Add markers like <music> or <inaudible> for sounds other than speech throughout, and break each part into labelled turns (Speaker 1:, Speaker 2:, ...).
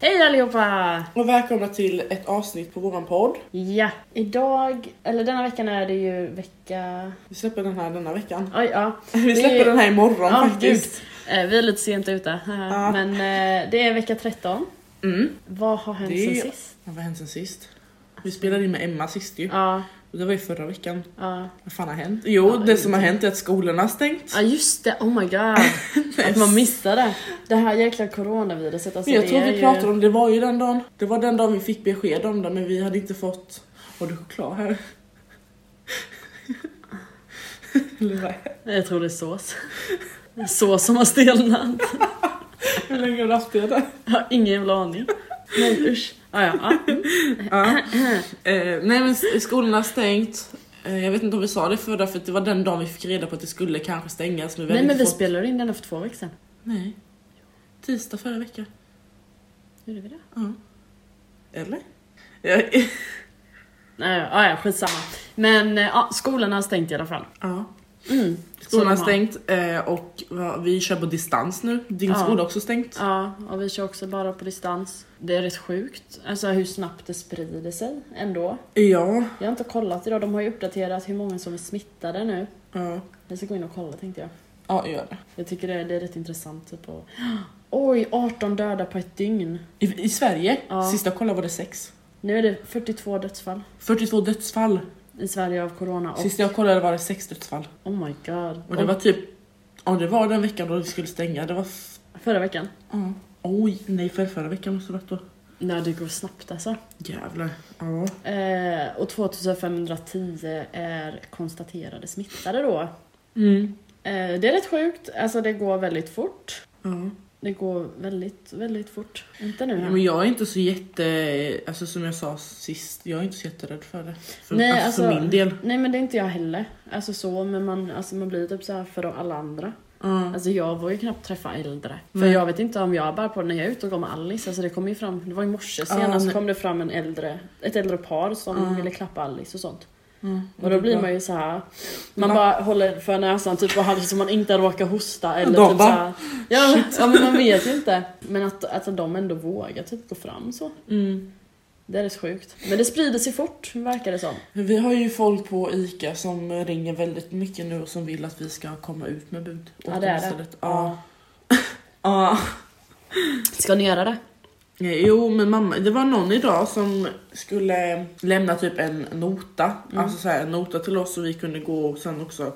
Speaker 1: Hej allihopa!
Speaker 2: Och välkomna till ett avsnitt på våran podd.
Speaker 1: Ja, idag, eller denna veckan är det ju vecka...
Speaker 2: Vi släpper den här denna veckan. <laughs>
Speaker 1: Oj, ja.
Speaker 2: Vi
Speaker 1: Det
Speaker 2: släpper
Speaker 1: är-
Speaker 2: den här imorgon
Speaker 1: Ja,
Speaker 2: faktiskt.
Speaker 1: gud. Eh, Vi är lite sent ute, <laughs>
Speaker 2: Ja.
Speaker 1: men eh, det är vecka 13.
Speaker 2: Mm.
Speaker 1: Vad har hänt
Speaker 2: Det är-
Speaker 1: sen sist?
Speaker 2: Vad har hänt sen sist? Vi spelade in med Emma sist ju.
Speaker 1: Ja,
Speaker 2: Det var ju förra veckan.
Speaker 1: ja.
Speaker 2: Vad fan har hänt? Jo,
Speaker 1: Ja,
Speaker 2: det som har hänt är att skolorna har stängt.
Speaker 1: Ja just det, oh my <laughs> god. Att man missade. Det här jäkla coronaviruset. Alltså,
Speaker 2: Men jag
Speaker 1: det
Speaker 2: tror
Speaker 1: är
Speaker 2: vi
Speaker 1: ju-
Speaker 2: pratade om det, var ju den dagen. Det var den dagen vi fick besked om det men vi hade inte fått... Har du choklad här? <laughs> Eller vad?
Speaker 1: Jag tror det är sås. <laughs> sås som har stelnat.
Speaker 2: Hur länge har du haft det där?
Speaker 1: Jag har ingen jävla aning. Nej usch. Ja, ja, ja. Mm.
Speaker 2: Ja. <clears throat> Eh, nej men s- skolorna har stängt. Eh, jag vet inte om vi sa det förra för att det var den dagen vi fick reda på att det skulle kanske stängas. Men vi hade
Speaker 1: Nej men
Speaker 2: inte
Speaker 1: vi
Speaker 2: fått...
Speaker 1: spelade in denna för två veckor sedan.
Speaker 2: Nej. Tisdag förra veckan.
Speaker 1: Gjorde vi det?
Speaker 2: Ja. Eller?
Speaker 1: <laughs>
Speaker 2: Ja.
Speaker 1: Nej, Eh, ja, ja, skitsamma. Men eh, ja, skolan har stängt i alla fall.
Speaker 2: ja.
Speaker 1: Mm,
Speaker 2: Skolan har
Speaker 1: så de
Speaker 2: stängt eh, och va, vi kör på distans nu. Din
Speaker 1: Ja.
Speaker 2: skola har också stängt.
Speaker 1: Ja, och vi kör också bara på distans. Det är rätt sjukt, alltså hur snabbt det sprider sig ändå.
Speaker 2: Ja.
Speaker 1: Jag har inte kollat idag, de har ju uppdaterat hur många som är smittade nu.
Speaker 2: Ja,
Speaker 1: Jag ska gå in och kolla tänkte jag.
Speaker 2: ja gör det.
Speaker 1: Jag tycker det är, det är rätt intressant. Typ, och... Oj, 18 döda på ett dygn.
Speaker 2: I, i Sverige,
Speaker 1: Ja.
Speaker 2: sista jag kollade var det 6.
Speaker 1: Nu är det 42 dödsfall
Speaker 2: 42 dödsfall.
Speaker 1: i Sverige av corona och
Speaker 2: Sista jag kollade var det 6 dödsfall.
Speaker 1: oh my god.
Speaker 2: Och det var typ, ja det var den veckan då vi skulle stänga. Det var f-
Speaker 1: Förra veckan.
Speaker 2: Ja. Oj, nej för förra veckan måste det varit då.
Speaker 1: Nej, det går snabbt alltså.
Speaker 2: Jävlar. Ja.
Speaker 1: Eh, och 2510 är konstaterade smittade då.
Speaker 2: Mm.
Speaker 1: Eh, det är rätt sjukt, alltså det går väldigt fort.
Speaker 2: Ja.
Speaker 1: Det går väldigt, väldigt fort. Inte nu
Speaker 2: Ja,
Speaker 1: här.
Speaker 2: men jag är inte så jätte, alltså som jag sa sist, jag är inte så jätterädd för det. För,
Speaker 1: Nej,
Speaker 2: alltså, för
Speaker 1: alltså-
Speaker 2: min del.
Speaker 1: Nej men det är inte jag heller. Alltså så, men man, alltså, man blir typ så här för alla andra.
Speaker 2: Ja.
Speaker 1: Alltså jag vågar ju knappt träffa äldre. För
Speaker 2: Nej.
Speaker 1: jag vet inte om jag bär på det när jag är ute och går med Alice. Alltså det kom ju fram, det var i morse
Speaker 2: Ja,
Speaker 1: senast
Speaker 2: men-
Speaker 1: kom det fram en äldre, ett äldre par som
Speaker 2: Ja.
Speaker 1: ville klappa Alice och sånt.
Speaker 2: Ja.
Speaker 1: Och då
Speaker 2: Mm.
Speaker 1: blir man ju så här. Man
Speaker 2: Va?
Speaker 1: bara håller för näsan typ och hade så man inte råkar hosta eller
Speaker 2: De
Speaker 1: typ så
Speaker 2: bara,
Speaker 1: här, ja, ja men man vet ju inte. Men att, att de ändå vågar typ gå fram så.
Speaker 2: Mm.
Speaker 1: Det är rätt sjukt. Men det sprider sig fort verkar det som.
Speaker 2: Vi har ju folk på ICA som ringer väldigt mycket nu och som vill att vi ska komma ut med bud.
Speaker 1: Ja,
Speaker 2: åt
Speaker 1: det är
Speaker 2: dem
Speaker 1: det.
Speaker 2: istället. Ja. <laughs> Ja.
Speaker 1: Ska ni göra det?
Speaker 2: Nej, Jo men mamma, det var någon idag som skulle lämna typ en nota,
Speaker 1: Mm.
Speaker 2: alltså så här, en nota till oss så vi kunde gå och sen också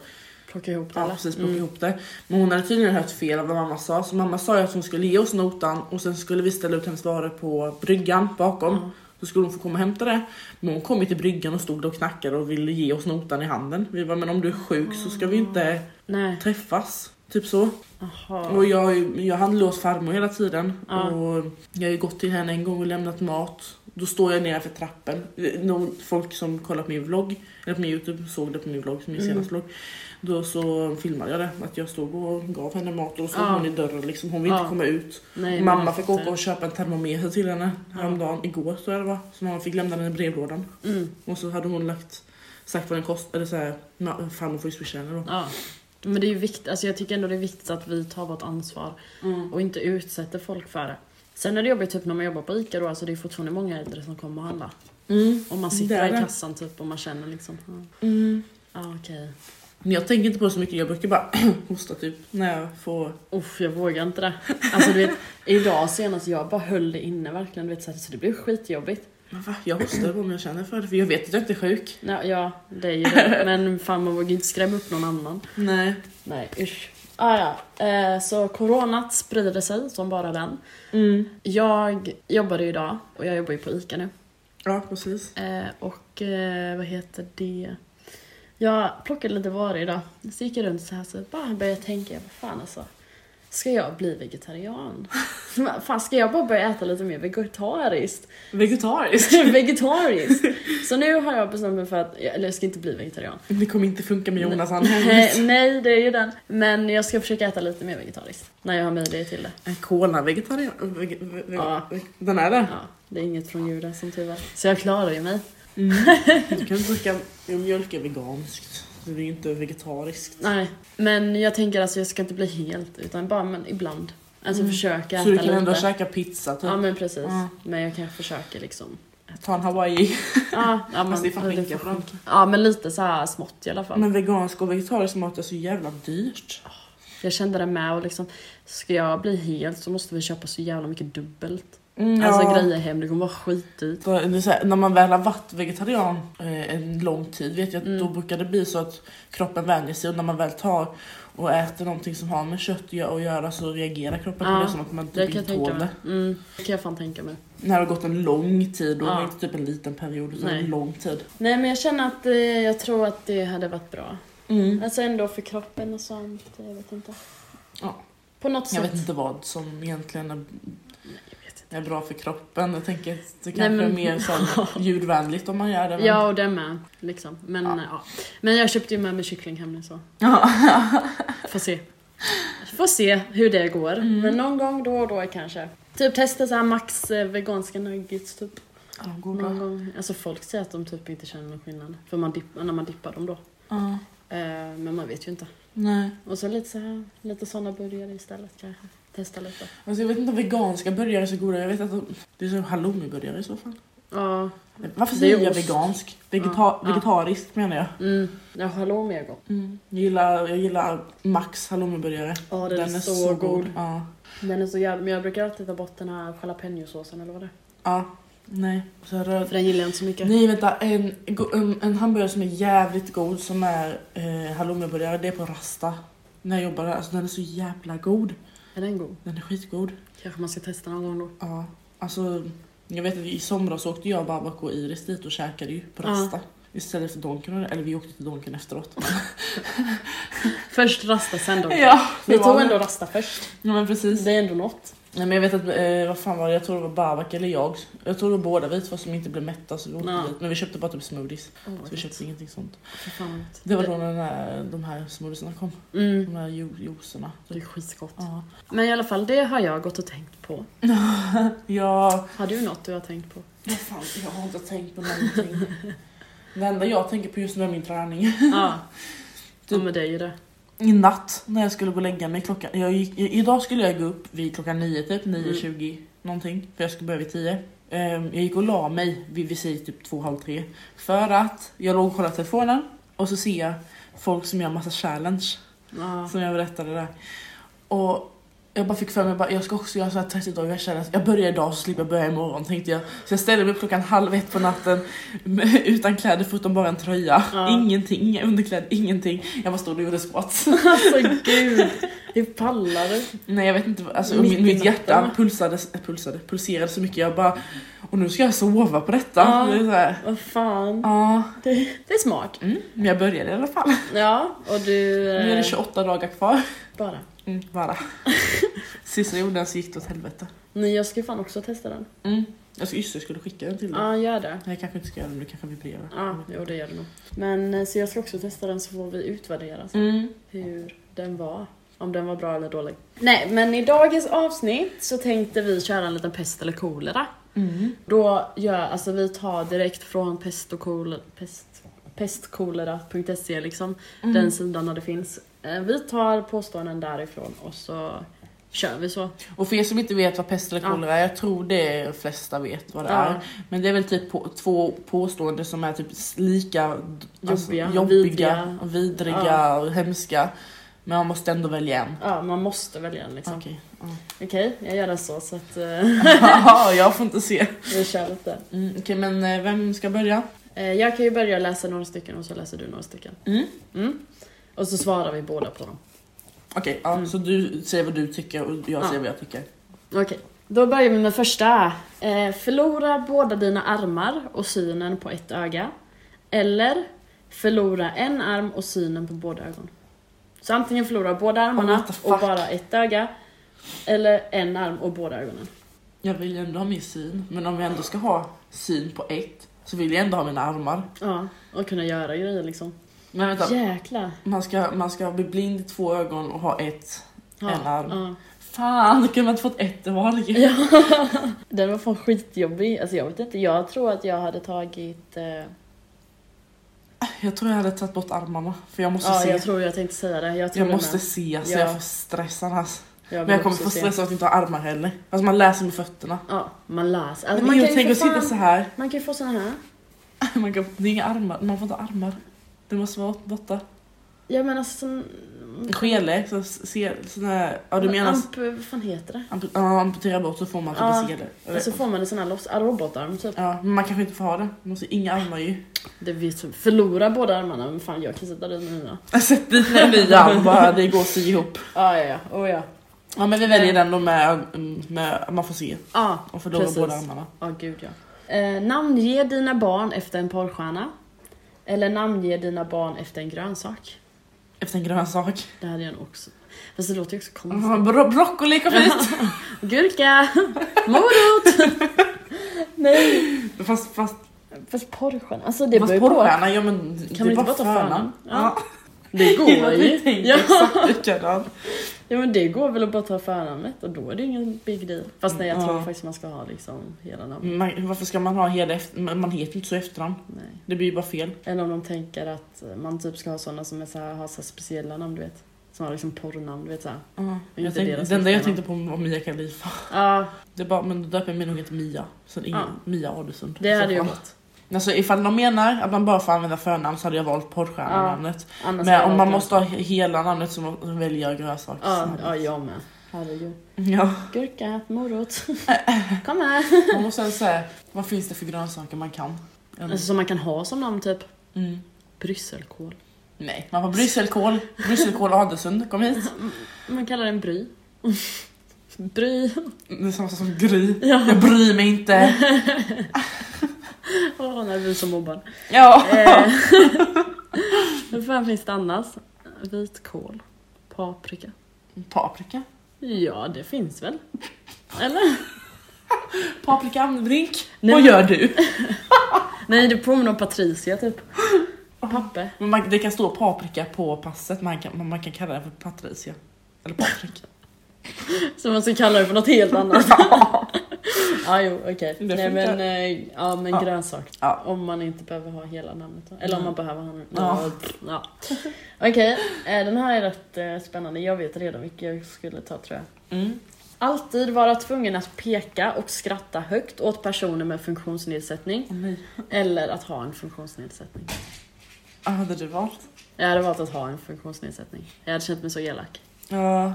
Speaker 1: Plocka ihop det
Speaker 2: Ja
Speaker 1: eller?
Speaker 2: precis, plocka ihop det. Men hon hade tydligen hört fel av vad mamma sa. Så mamma sa ju att hon skulle ge oss notan och sen skulle vi ställa ut hennes varor på bryggan bakom.
Speaker 1: Ja.
Speaker 2: Så skulle hon få komma och hämta det. Men hon kom ju till bryggan och stod där och knackade och ville ge oss notan i handen. Vi var men om du är sjuk så ska vi inte
Speaker 1: Nej.
Speaker 2: träffas. Typ så.
Speaker 1: Jaha.
Speaker 2: Och jag, har ju- jag handlar ju hos farmor hela tiden.
Speaker 1: Ja.
Speaker 2: Och jag har ju gått till henne en gång och lämnat mat. Då står jag nere för trappen. Någon, folk som kollar på min vlogg, eller på min youtube, såg det på min vlogg, min
Speaker 1: Mm.
Speaker 2: senaste vlogg. Då så filmade jag det, att jag stod och gav henne mat och då stod
Speaker 1: Ja.
Speaker 2: hon i dörren liksom. Hon vill
Speaker 1: Ja.
Speaker 2: inte komma ut.
Speaker 1: Nej,
Speaker 2: mamma
Speaker 1: men-
Speaker 2: fick åka och köpa en termometer till henne häromdagen, igår tror jag det var. Så mamma fick lämna den i brevlådan.
Speaker 1: Mm.
Speaker 2: Och så hade hon lagt, sagt vad den kostade, eller såhär, ma- farmor får ju swisha henne då.
Speaker 1: Ja. Men det är ju viktigt, alltså jag tycker ändå det är viktigt att vi tar vårt ansvar och inte utsätter folk för det. Sen är det jobbigt typ när man jobbar på ICA då, alltså det är fortfarande många äldre som kommer och handlar.
Speaker 2: Mm.
Speaker 1: Och man
Speaker 2: Det
Speaker 1: sitter
Speaker 2: är
Speaker 1: i
Speaker 2: det.
Speaker 1: kassan typ och man känner liksom, ja
Speaker 2: Mm.
Speaker 1: ah, okej.
Speaker 2: Men jag tänker inte på det så mycket, jag brukar bara <clears throat> hosta typ när jag får...
Speaker 1: Uff, jag vågar inte det. Alltså du vet, idag senast jag bara höll det inne verkligen, du vet, så, här, så det blev skitjobbigt.
Speaker 2: Men va? Jag hostar bara om jag känner för det, för jag vet att jag inte är sjuk.
Speaker 1: Ja, ja det är ju det. <laughs> Men fan man vågar ju inte skrämma upp någon annan.
Speaker 2: Nej.
Speaker 1: Nej usch. Ah, ja. eh, så coronat sprider sig som bara den.
Speaker 2: Mm.
Speaker 1: Jag jobbade ju idag och jag jobbar ju på ICA nu.
Speaker 2: Ja, precis.
Speaker 1: Eh, och eh, vad heter det? Jag plockade lite varor idag. Så gick jag runt så här så bara började jag tänka, vad fan alltså. Ska jag bli vegetarian? <laughs> Vad fan, ska jag bara börja äta lite mer vegetariskt? <laughs>
Speaker 2: Vegetariskt.
Speaker 1: vegetariskt! Så nu har jag bestämt mig för att, eller jag ska inte bli vegetarian.
Speaker 2: <laughs> Det kommer inte funka med Jonas, han <laughs>
Speaker 1: Nej, nej, det är ju den. Men jag ska försöka äta lite mer vegetariskt. När jag har möjlighet till det.
Speaker 2: Kola vegetarian... Veg, veg,
Speaker 1: Ja.
Speaker 2: veg, den är det.
Speaker 1: Ja, det är inget från djuren som tur är. Så jag klarar ju mig.
Speaker 2: Mm. <laughs> Du kan dricka... Jo, mjölk är veganskt. Det är ju inte vegetariskt.
Speaker 1: Nej, men jag tänker alltså jag ska inte bli helt utan bara men ibland. Alltså
Speaker 2: Mm.
Speaker 1: försöka
Speaker 2: Så du
Speaker 1: äta
Speaker 2: kan ändå
Speaker 1: lite.
Speaker 2: käka pizza typ.
Speaker 1: Ja men precis.
Speaker 2: Ja.
Speaker 1: Men jag kanske försöker
Speaker 2: <laughs>
Speaker 1: liksom.
Speaker 2: Ta en hawaii.
Speaker 1: Ja, ja, men,
Speaker 2: Fast det är fan
Speaker 1: ja,
Speaker 2: skinka
Speaker 1: får-
Speaker 2: för dem.
Speaker 1: ja men lite så här smått i alla fall.
Speaker 2: Men vegansk och vegetarisk mat är så jävla dyrt.
Speaker 1: Jag kände det med och liksom, ska jag bli helt så måste vi köpa så jävla mycket dubbelt.
Speaker 2: Mm,
Speaker 1: Alltså
Speaker 2: ja. Typ
Speaker 1: grejer hem, det kommer vara skitdyrt.
Speaker 2: Då är det så här, när man väl har varit vegetarian eh, en lång tid vet jag att
Speaker 1: Mm.
Speaker 2: då brukar det bli så att kroppen vänjer sig och när man väl tar och äter någonting som har med kött att gö- att göra så reagerar kroppen
Speaker 1: Ja,
Speaker 2: på det som att man
Speaker 1: Det
Speaker 2: typ
Speaker 1: kan jag
Speaker 2: inte
Speaker 1: tänka
Speaker 2: tål
Speaker 1: mig.
Speaker 2: det.
Speaker 1: Mm, det kan jag fan tänka mig.
Speaker 2: När det har gått en lång tid, då
Speaker 1: Ja.
Speaker 2: är det inte typ en liten period utan
Speaker 1: Nej.
Speaker 2: en lång tid.
Speaker 1: Nej men jag känner att eh, jag tror att det hade varit bra.
Speaker 2: Mm.
Speaker 1: Alltså ändå för kroppen och sånt, jag vet inte.
Speaker 2: Ja.
Speaker 1: På något sätt.
Speaker 2: Jag vet inte vad som egentligen är, är bra för kroppen. Jag tänker att det kanske
Speaker 1: men-
Speaker 2: är mer
Speaker 1: <laughs>
Speaker 2: så här, djurvänligt om man gör det. men-
Speaker 1: Ja
Speaker 2: <laughs>
Speaker 1: och den med. Liksom. Men,
Speaker 2: Ja.
Speaker 1: ja. Ja. men jag köpte ju med mig kyckling hem nu så. Får se. Får se hur det går. Men någon gång då och då kanske. Typ testa så här max eh, veganska nuggets typ.
Speaker 2: Ja, de går
Speaker 1: Någon
Speaker 2: bra.
Speaker 1: gång. Alltså folk säger att de typ inte känner någon skillnad. För man dipp, när man dippar dem då.
Speaker 2: Ja.
Speaker 1: Eh, men man vet ju inte.
Speaker 2: Nej.
Speaker 1: Och så lite så här, lite sådana burgare istället kanske. Testa lite.
Speaker 2: Alltså jag vet inte om veganska burgare är så goda. Jag vet att de, det är som halloumiburgare i så fall.
Speaker 1: Ja.
Speaker 2: Varför
Speaker 1: Det
Speaker 2: säger
Speaker 1: är
Speaker 2: jag
Speaker 1: ost.
Speaker 2: vegansk? Vegeta-
Speaker 1: Ja, ja.
Speaker 2: Vegetariskt menar jag.
Speaker 1: Mm. Ja, halloumi är gott.
Speaker 2: Jag, gillar, jag gillar Max halloumiburgare.
Speaker 1: Ja, den, är, så, god.
Speaker 2: Ja.
Speaker 1: Den är så jävla... Men jag brukar alltid ta bort den här jalapenosåsen eller vad det är.
Speaker 2: ja. Nej. Så röd.
Speaker 1: För den gillar jag inte så mycket.
Speaker 2: Nej vänta, en, go- en, en hamburgare som är jävligt god som är eh, halloumiburgare, det är på Rasta. När jag jobbade där, alltså den är så jävla god.
Speaker 1: Är den god?
Speaker 2: Den är skitgod.
Speaker 1: Kanske man ska testa någon gång då.
Speaker 2: Ja, alltså jag vet att i somras åkte jag, Babak och Iris dit och käkade ju på
Speaker 1: Ja.
Speaker 2: Rasta. Istället för Donken, eller vi åkte till Donken efteråt.
Speaker 1: Först rasta, sen då.
Speaker 2: <laughs> ja,
Speaker 1: Vi
Speaker 2: det var
Speaker 1: tog
Speaker 2: det.
Speaker 1: ändå rasta först.
Speaker 2: Ja men precis.
Speaker 1: Det är ändå något.
Speaker 2: Nej men jag vet att, eh, vad fan var det, jag tror det var Babak eller jag. Jag tror det var båda vi två som inte blev mätta så vi åkte
Speaker 1: Ja.
Speaker 2: dit. Men vi köpte bara typ smoothies.
Speaker 1: Oh,
Speaker 2: Så vi köpte ingenting sånt.
Speaker 1: För fan vad gott.
Speaker 2: Det var då när den här, de här smoothiesarna kom.
Speaker 1: Mm.
Speaker 2: De här ju- juicerna.
Speaker 1: Det är skitgott.
Speaker 2: Ja.
Speaker 1: Men i alla fall, det har jag gått och tänkt på.
Speaker 2: ja,
Speaker 1: Har du något du har tänkt
Speaker 2: <laughs>
Speaker 1: på?
Speaker 2: vad fan, jag har inte tänkt på någonting.
Speaker 1: <laughs>
Speaker 2: Det enda jag tänker på just nu är min träning.
Speaker 1: Ja. Ja men det är ju det.
Speaker 2: I natt när jag skulle gå och lägga mig klockan... Jag gick, i- idag skulle jag gå upp vid klockan 9 typ,
Speaker 1: Mm.
Speaker 2: 9.20 någonting. För jag skulle börja vid 10. Ehm, jag gick och la mig vid, vid sig typ 2, halv tre. För att jag låg och kollade telefonen och så ser jag folk som gör massa challenge.
Speaker 1: Ja.
Speaker 2: Som jag berättade där. Och jag bara fick för mig bara, jag ska också göra så här 30 dagar challenge. Jag börjar idag så slipper jag börja imorgon tänkte jag. Så jag ställde mig upp klockan halv ett på natten <laughs> med- utan kläder förutom bara en tröja.
Speaker 1: Ja.
Speaker 2: Ingenting, inga underkläder, ingenting. Jag bara stod och gjorde
Speaker 1: <laughs>
Speaker 2: squats.
Speaker 1: Alltså gud. Hur pallar du?
Speaker 2: Nej jag vet inte, vad- alltså,
Speaker 1: Mitt i
Speaker 2: mitt, mitt hjärta
Speaker 1: natten.
Speaker 2: pulsade, pulsade, pulserade så mycket jag bara Och nu ska jag sova på detta.
Speaker 1: Ja.
Speaker 2: Det är så här,
Speaker 1: Vad fan.
Speaker 2: ja.
Speaker 1: Det, det är smart.
Speaker 2: Mm, men jag började i alla fall.
Speaker 1: Ja, och du...
Speaker 2: Nu är det
Speaker 1: eh,
Speaker 2: 28 dagar kvar.
Speaker 1: Bara.
Speaker 2: Mm, <laughs> bara. Sista jag gjorde den så gick det åt helvete.
Speaker 1: Nej, jag ska ju fan också testa den.
Speaker 2: Mm. Alltså Yster skulle skicka den till dig.
Speaker 1: Ja, gör det.
Speaker 2: Nej jag kanske inte ska göra det, men det kanske vibrerar.
Speaker 1: Ja, jo det gör det nog. Men eh, så jag ska också testa den så får vi utvärdera sen
Speaker 2: Mm.
Speaker 1: hur den var. Om den var bra eller dålig. Nej, men i dagens avsnitt så tänkte vi köra en liten pest eller kolera.
Speaker 2: Mm.
Speaker 1: Då gör, alltså vi tar direkt från pest och kolera, pest, pestkolera.se liksom,
Speaker 2: Mm.
Speaker 1: den sidan där det finns. Eh, Vi tar påståenden därifrån och så kör vi så.
Speaker 2: Och för er som inte vet vad pest eller
Speaker 1: Ja.
Speaker 2: kolera är, jag tror det flesta vet vad det
Speaker 1: Ja.
Speaker 2: är. Men det är väl typ på, två påståenden som är typ lika alltså,
Speaker 1: Jobbiga,
Speaker 2: jobbiga
Speaker 1: vidriga.
Speaker 2: vidriga, vidriga
Speaker 1: Ja.
Speaker 2: och hemska. Men man måste ändå välja en.
Speaker 1: Ja, man måste välja den liksom.
Speaker 2: Okej. <laughs>
Speaker 1: Okej, jag gör den så så att eh, <laughs>
Speaker 2: Haha, jag får inte se.
Speaker 1: vi kör lite.
Speaker 2: Mm, Okej men eh, vem ska börja?
Speaker 1: Eh, Jag kan ju börja läsa några stycken och så läser du några stycken.
Speaker 2: Mm.
Speaker 1: Mm. Och så svarar vi båda på dem.
Speaker 2: Okej, ja,
Speaker 1: Mm.
Speaker 2: så du säger vad du tycker och jag
Speaker 1: Ja.
Speaker 2: säger vad jag tycker.
Speaker 1: Okej, då börjar vi med första. Eh, förlora båda dina armar och synen på ett öga. Eller förlora en arm och synen på båda ögonen. Så antingen förlora båda armarna
Speaker 2: what the fuck?
Speaker 1: och bara ett öga. Eller en arm och båda ögonen.
Speaker 2: Jag vill ju ändå ha min syn, men om jag ändå ska ha syn på ett så vill jag ändå ha mina armar.
Speaker 1: Ja, och kunna göra grejer liksom.
Speaker 2: Men vänta,
Speaker 1: Jäklar.
Speaker 2: man, ska, man ska bli blind i två ögon och ha ett.
Speaker 1: Ja,
Speaker 2: En arm.
Speaker 1: Ja.
Speaker 2: Fan, då kunde man inte fått ett i varje.
Speaker 1: Ja. <laughs> Den var fan skitjobbig. Alltså jag vet inte, jag tror att jag hade tagit... Eh,
Speaker 2: Jag tror jag hade tagit bort armarna, för jag måste
Speaker 1: ja,
Speaker 2: se.
Speaker 1: jag
Speaker 2: Jag,
Speaker 1: tror jag tänkte säga det. Jag, tror det
Speaker 2: måste
Speaker 1: med.
Speaker 2: se så
Speaker 1: Ja.
Speaker 2: jag får stressen alltså.
Speaker 1: Jag
Speaker 2: Men jag
Speaker 1: vill
Speaker 2: kommer
Speaker 1: också
Speaker 2: få
Speaker 1: se.
Speaker 2: stress av att inte ha armar heller. Alltså man läser med fötterna.
Speaker 1: Ja, man läser. Alltså,
Speaker 2: Men
Speaker 1: man,
Speaker 2: jag
Speaker 1: kan
Speaker 2: tänker
Speaker 1: ju
Speaker 2: att
Speaker 1: för
Speaker 2: sitta så
Speaker 1: fan,
Speaker 2: här.
Speaker 1: <laughs> man kan ju få såna här.
Speaker 2: Man kan, det är inga armar, man får inte ha armar. Det måste vara borta.
Speaker 1: Jag menar alltså, sån... Mm.
Speaker 2: Skele, så ser sån här, ja du menar
Speaker 1: Amp, vad fan heter det?
Speaker 2: amp- ja, amputera bort så får man typ
Speaker 1: Ja, Alltså,
Speaker 2: en sele. Eller-
Speaker 1: Och så får man en sån här loss, ah, robotarm typ.
Speaker 2: Ja, men man kanske inte får ha det. Man måste inga
Speaker 1: <laughs>
Speaker 2: armar ju.
Speaker 1: Det vi förlorar båda armarna, men fan jag kan sätta den nu då.
Speaker 2: Sätt dit en ny arm bara, det går sy ihop.
Speaker 1: Ah, ja, ja, oh, ja.
Speaker 2: Ja men vi väljer den då med, mm, med man får se.
Speaker 1: Ah,
Speaker 2: Och förlorar
Speaker 1: Precis.
Speaker 2: båda armarna.
Speaker 1: Ja, gud ja. Eh, namnge dina barn efter en porrstjärna. Eller namnge dina barn efter en grönsak.
Speaker 2: Efter en grön sak.
Speaker 1: Det hade jag nog också. Fast det låter ju också konstigt.
Speaker 2: Mm, Bro broccoli kom hit!
Speaker 1: Gurka! Morot! <laughs> Nej!
Speaker 2: <laughs> Fast, fast,
Speaker 1: Fast porrstjärna, alltså det beror
Speaker 2: fast
Speaker 1: ju på.
Speaker 2: porrstjärna, ja men
Speaker 1: Kan
Speaker 2: det
Speaker 1: man
Speaker 2: är
Speaker 1: inte
Speaker 2: bara
Speaker 1: bara ta
Speaker 2: stjärnan.
Speaker 1: stjärnan?
Speaker 2: Ja.
Speaker 1: <laughs> Det
Speaker 2: Gillar
Speaker 1: går
Speaker 2: att vi
Speaker 1: ju.
Speaker 2: tänker
Speaker 1: Ja.
Speaker 2: exakt likadant.
Speaker 1: ja men det går väl att bara ta förnamnet och då är det ju ingen big deal. Fast nej jag
Speaker 2: Mm. Ja.
Speaker 1: tror faktiskt man ska ha liksom hela namnet.
Speaker 2: Man, varför ska man ha hela efter, men man heter ju inte så i efternamn.
Speaker 1: Nej.
Speaker 2: Det blir ju bara fel.
Speaker 1: Eller om de tänker att man typ ska ha sådana som är så här, har så här speciella namn du vet. Som har liksom porrnamn du vet såhär.
Speaker 2: Jag
Speaker 1: Inte
Speaker 2: tänkte,
Speaker 1: deras
Speaker 2: det enda jag
Speaker 1: efternamn.
Speaker 2: tänkte på var Mia Khalifa.
Speaker 1: Ja,
Speaker 2: Det är bara, men då döper jag mig nog inte Mia. Sen ingen,
Speaker 1: Ja.
Speaker 2: Mia Adelsson.
Speaker 1: det hade ju
Speaker 2: jag
Speaker 1: gått.
Speaker 2: Alltså ifall de menar att man bara får använda förnamn så hade jag valt porrstjärnenamnet.
Speaker 1: Annars hade
Speaker 2: Men
Speaker 1: Alltså, jag
Speaker 2: om man
Speaker 1: varit
Speaker 2: måste ha he- hela namnet så må- så väljer jag grönsaker.
Speaker 1: Ja, ja, jag med. Herregud.
Speaker 2: ja.
Speaker 1: Gurka,
Speaker 2: <laughs>
Speaker 1: morot. Kom här.
Speaker 2: Man måste sen säga, vad finns det för grönsaker man kan? Mm.
Speaker 1: Alltså som man kan ha som namn typ.
Speaker 2: Mm.
Speaker 1: Brysselkål.
Speaker 2: Nej, man får brysselkål, brysselkål Adelsson, kom hit.
Speaker 1: Man kallar den bry. <laughs> bry. <laughs>
Speaker 2: Det är samma sak som Gry.
Speaker 1: Ja.
Speaker 2: Jag bryr mig inte.
Speaker 1: Åh, när vi är så mobbad.
Speaker 2: Ja.
Speaker 1: Eh, Vad fan finns det annars? Vitkål. Paprika.
Speaker 2: Paprika.
Speaker 1: Ja, det finns väl? Eller?
Speaker 2: Paprika drink.
Speaker 1: Nej,
Speaker 2: Vad
Speaker 1: men-
Speaker 2: gör du?
Speaker 1: Nej, det påminner om patricia typ. Pappe.
Speaker 2: Men man, det kan stå paprika på passet, man kan, man kan kalla det för patricia.
Speaker 1: <laughs>
Speaker 2: Eller Patrik.
Speaker 1: Som man ska kalla det för något helt annat. ja, jo, okej.
Speaker 2: Det
Speaker 1: Nej
Speaker 2: funkar.
Speaker 1: men, eh, ja, men
Speaker 2: Ja.
Speaker 1: grönsak.
Speaker 2: Ja.
Speaker 1: Om man inte behöver ha hela namnet. Eller
Speaker 2: Mm.
Speaker 1: om man behöver ha...
Speaker 2: Ja.
Speaker 1: Ja. Ja. Okej, eh, den här är rätt eh, spännande. Jag vet redan vilken jag skulle ta tror jag.
Speaker 2: Mm.
Speaker 1: Alltid vara tvungen att peka och skratta högt åt personer med funktionsnedsättning.
Speaker 2: Åh, nej.
Speaker 1: Eller att ha en funktionsnedsättning.
Speaker 2: Vad hade du valt?
Speaker 1: Jag hade valt att ha en funktionsnedsättning. Jag hade känt mig så elak.
Speaker 2: Ja,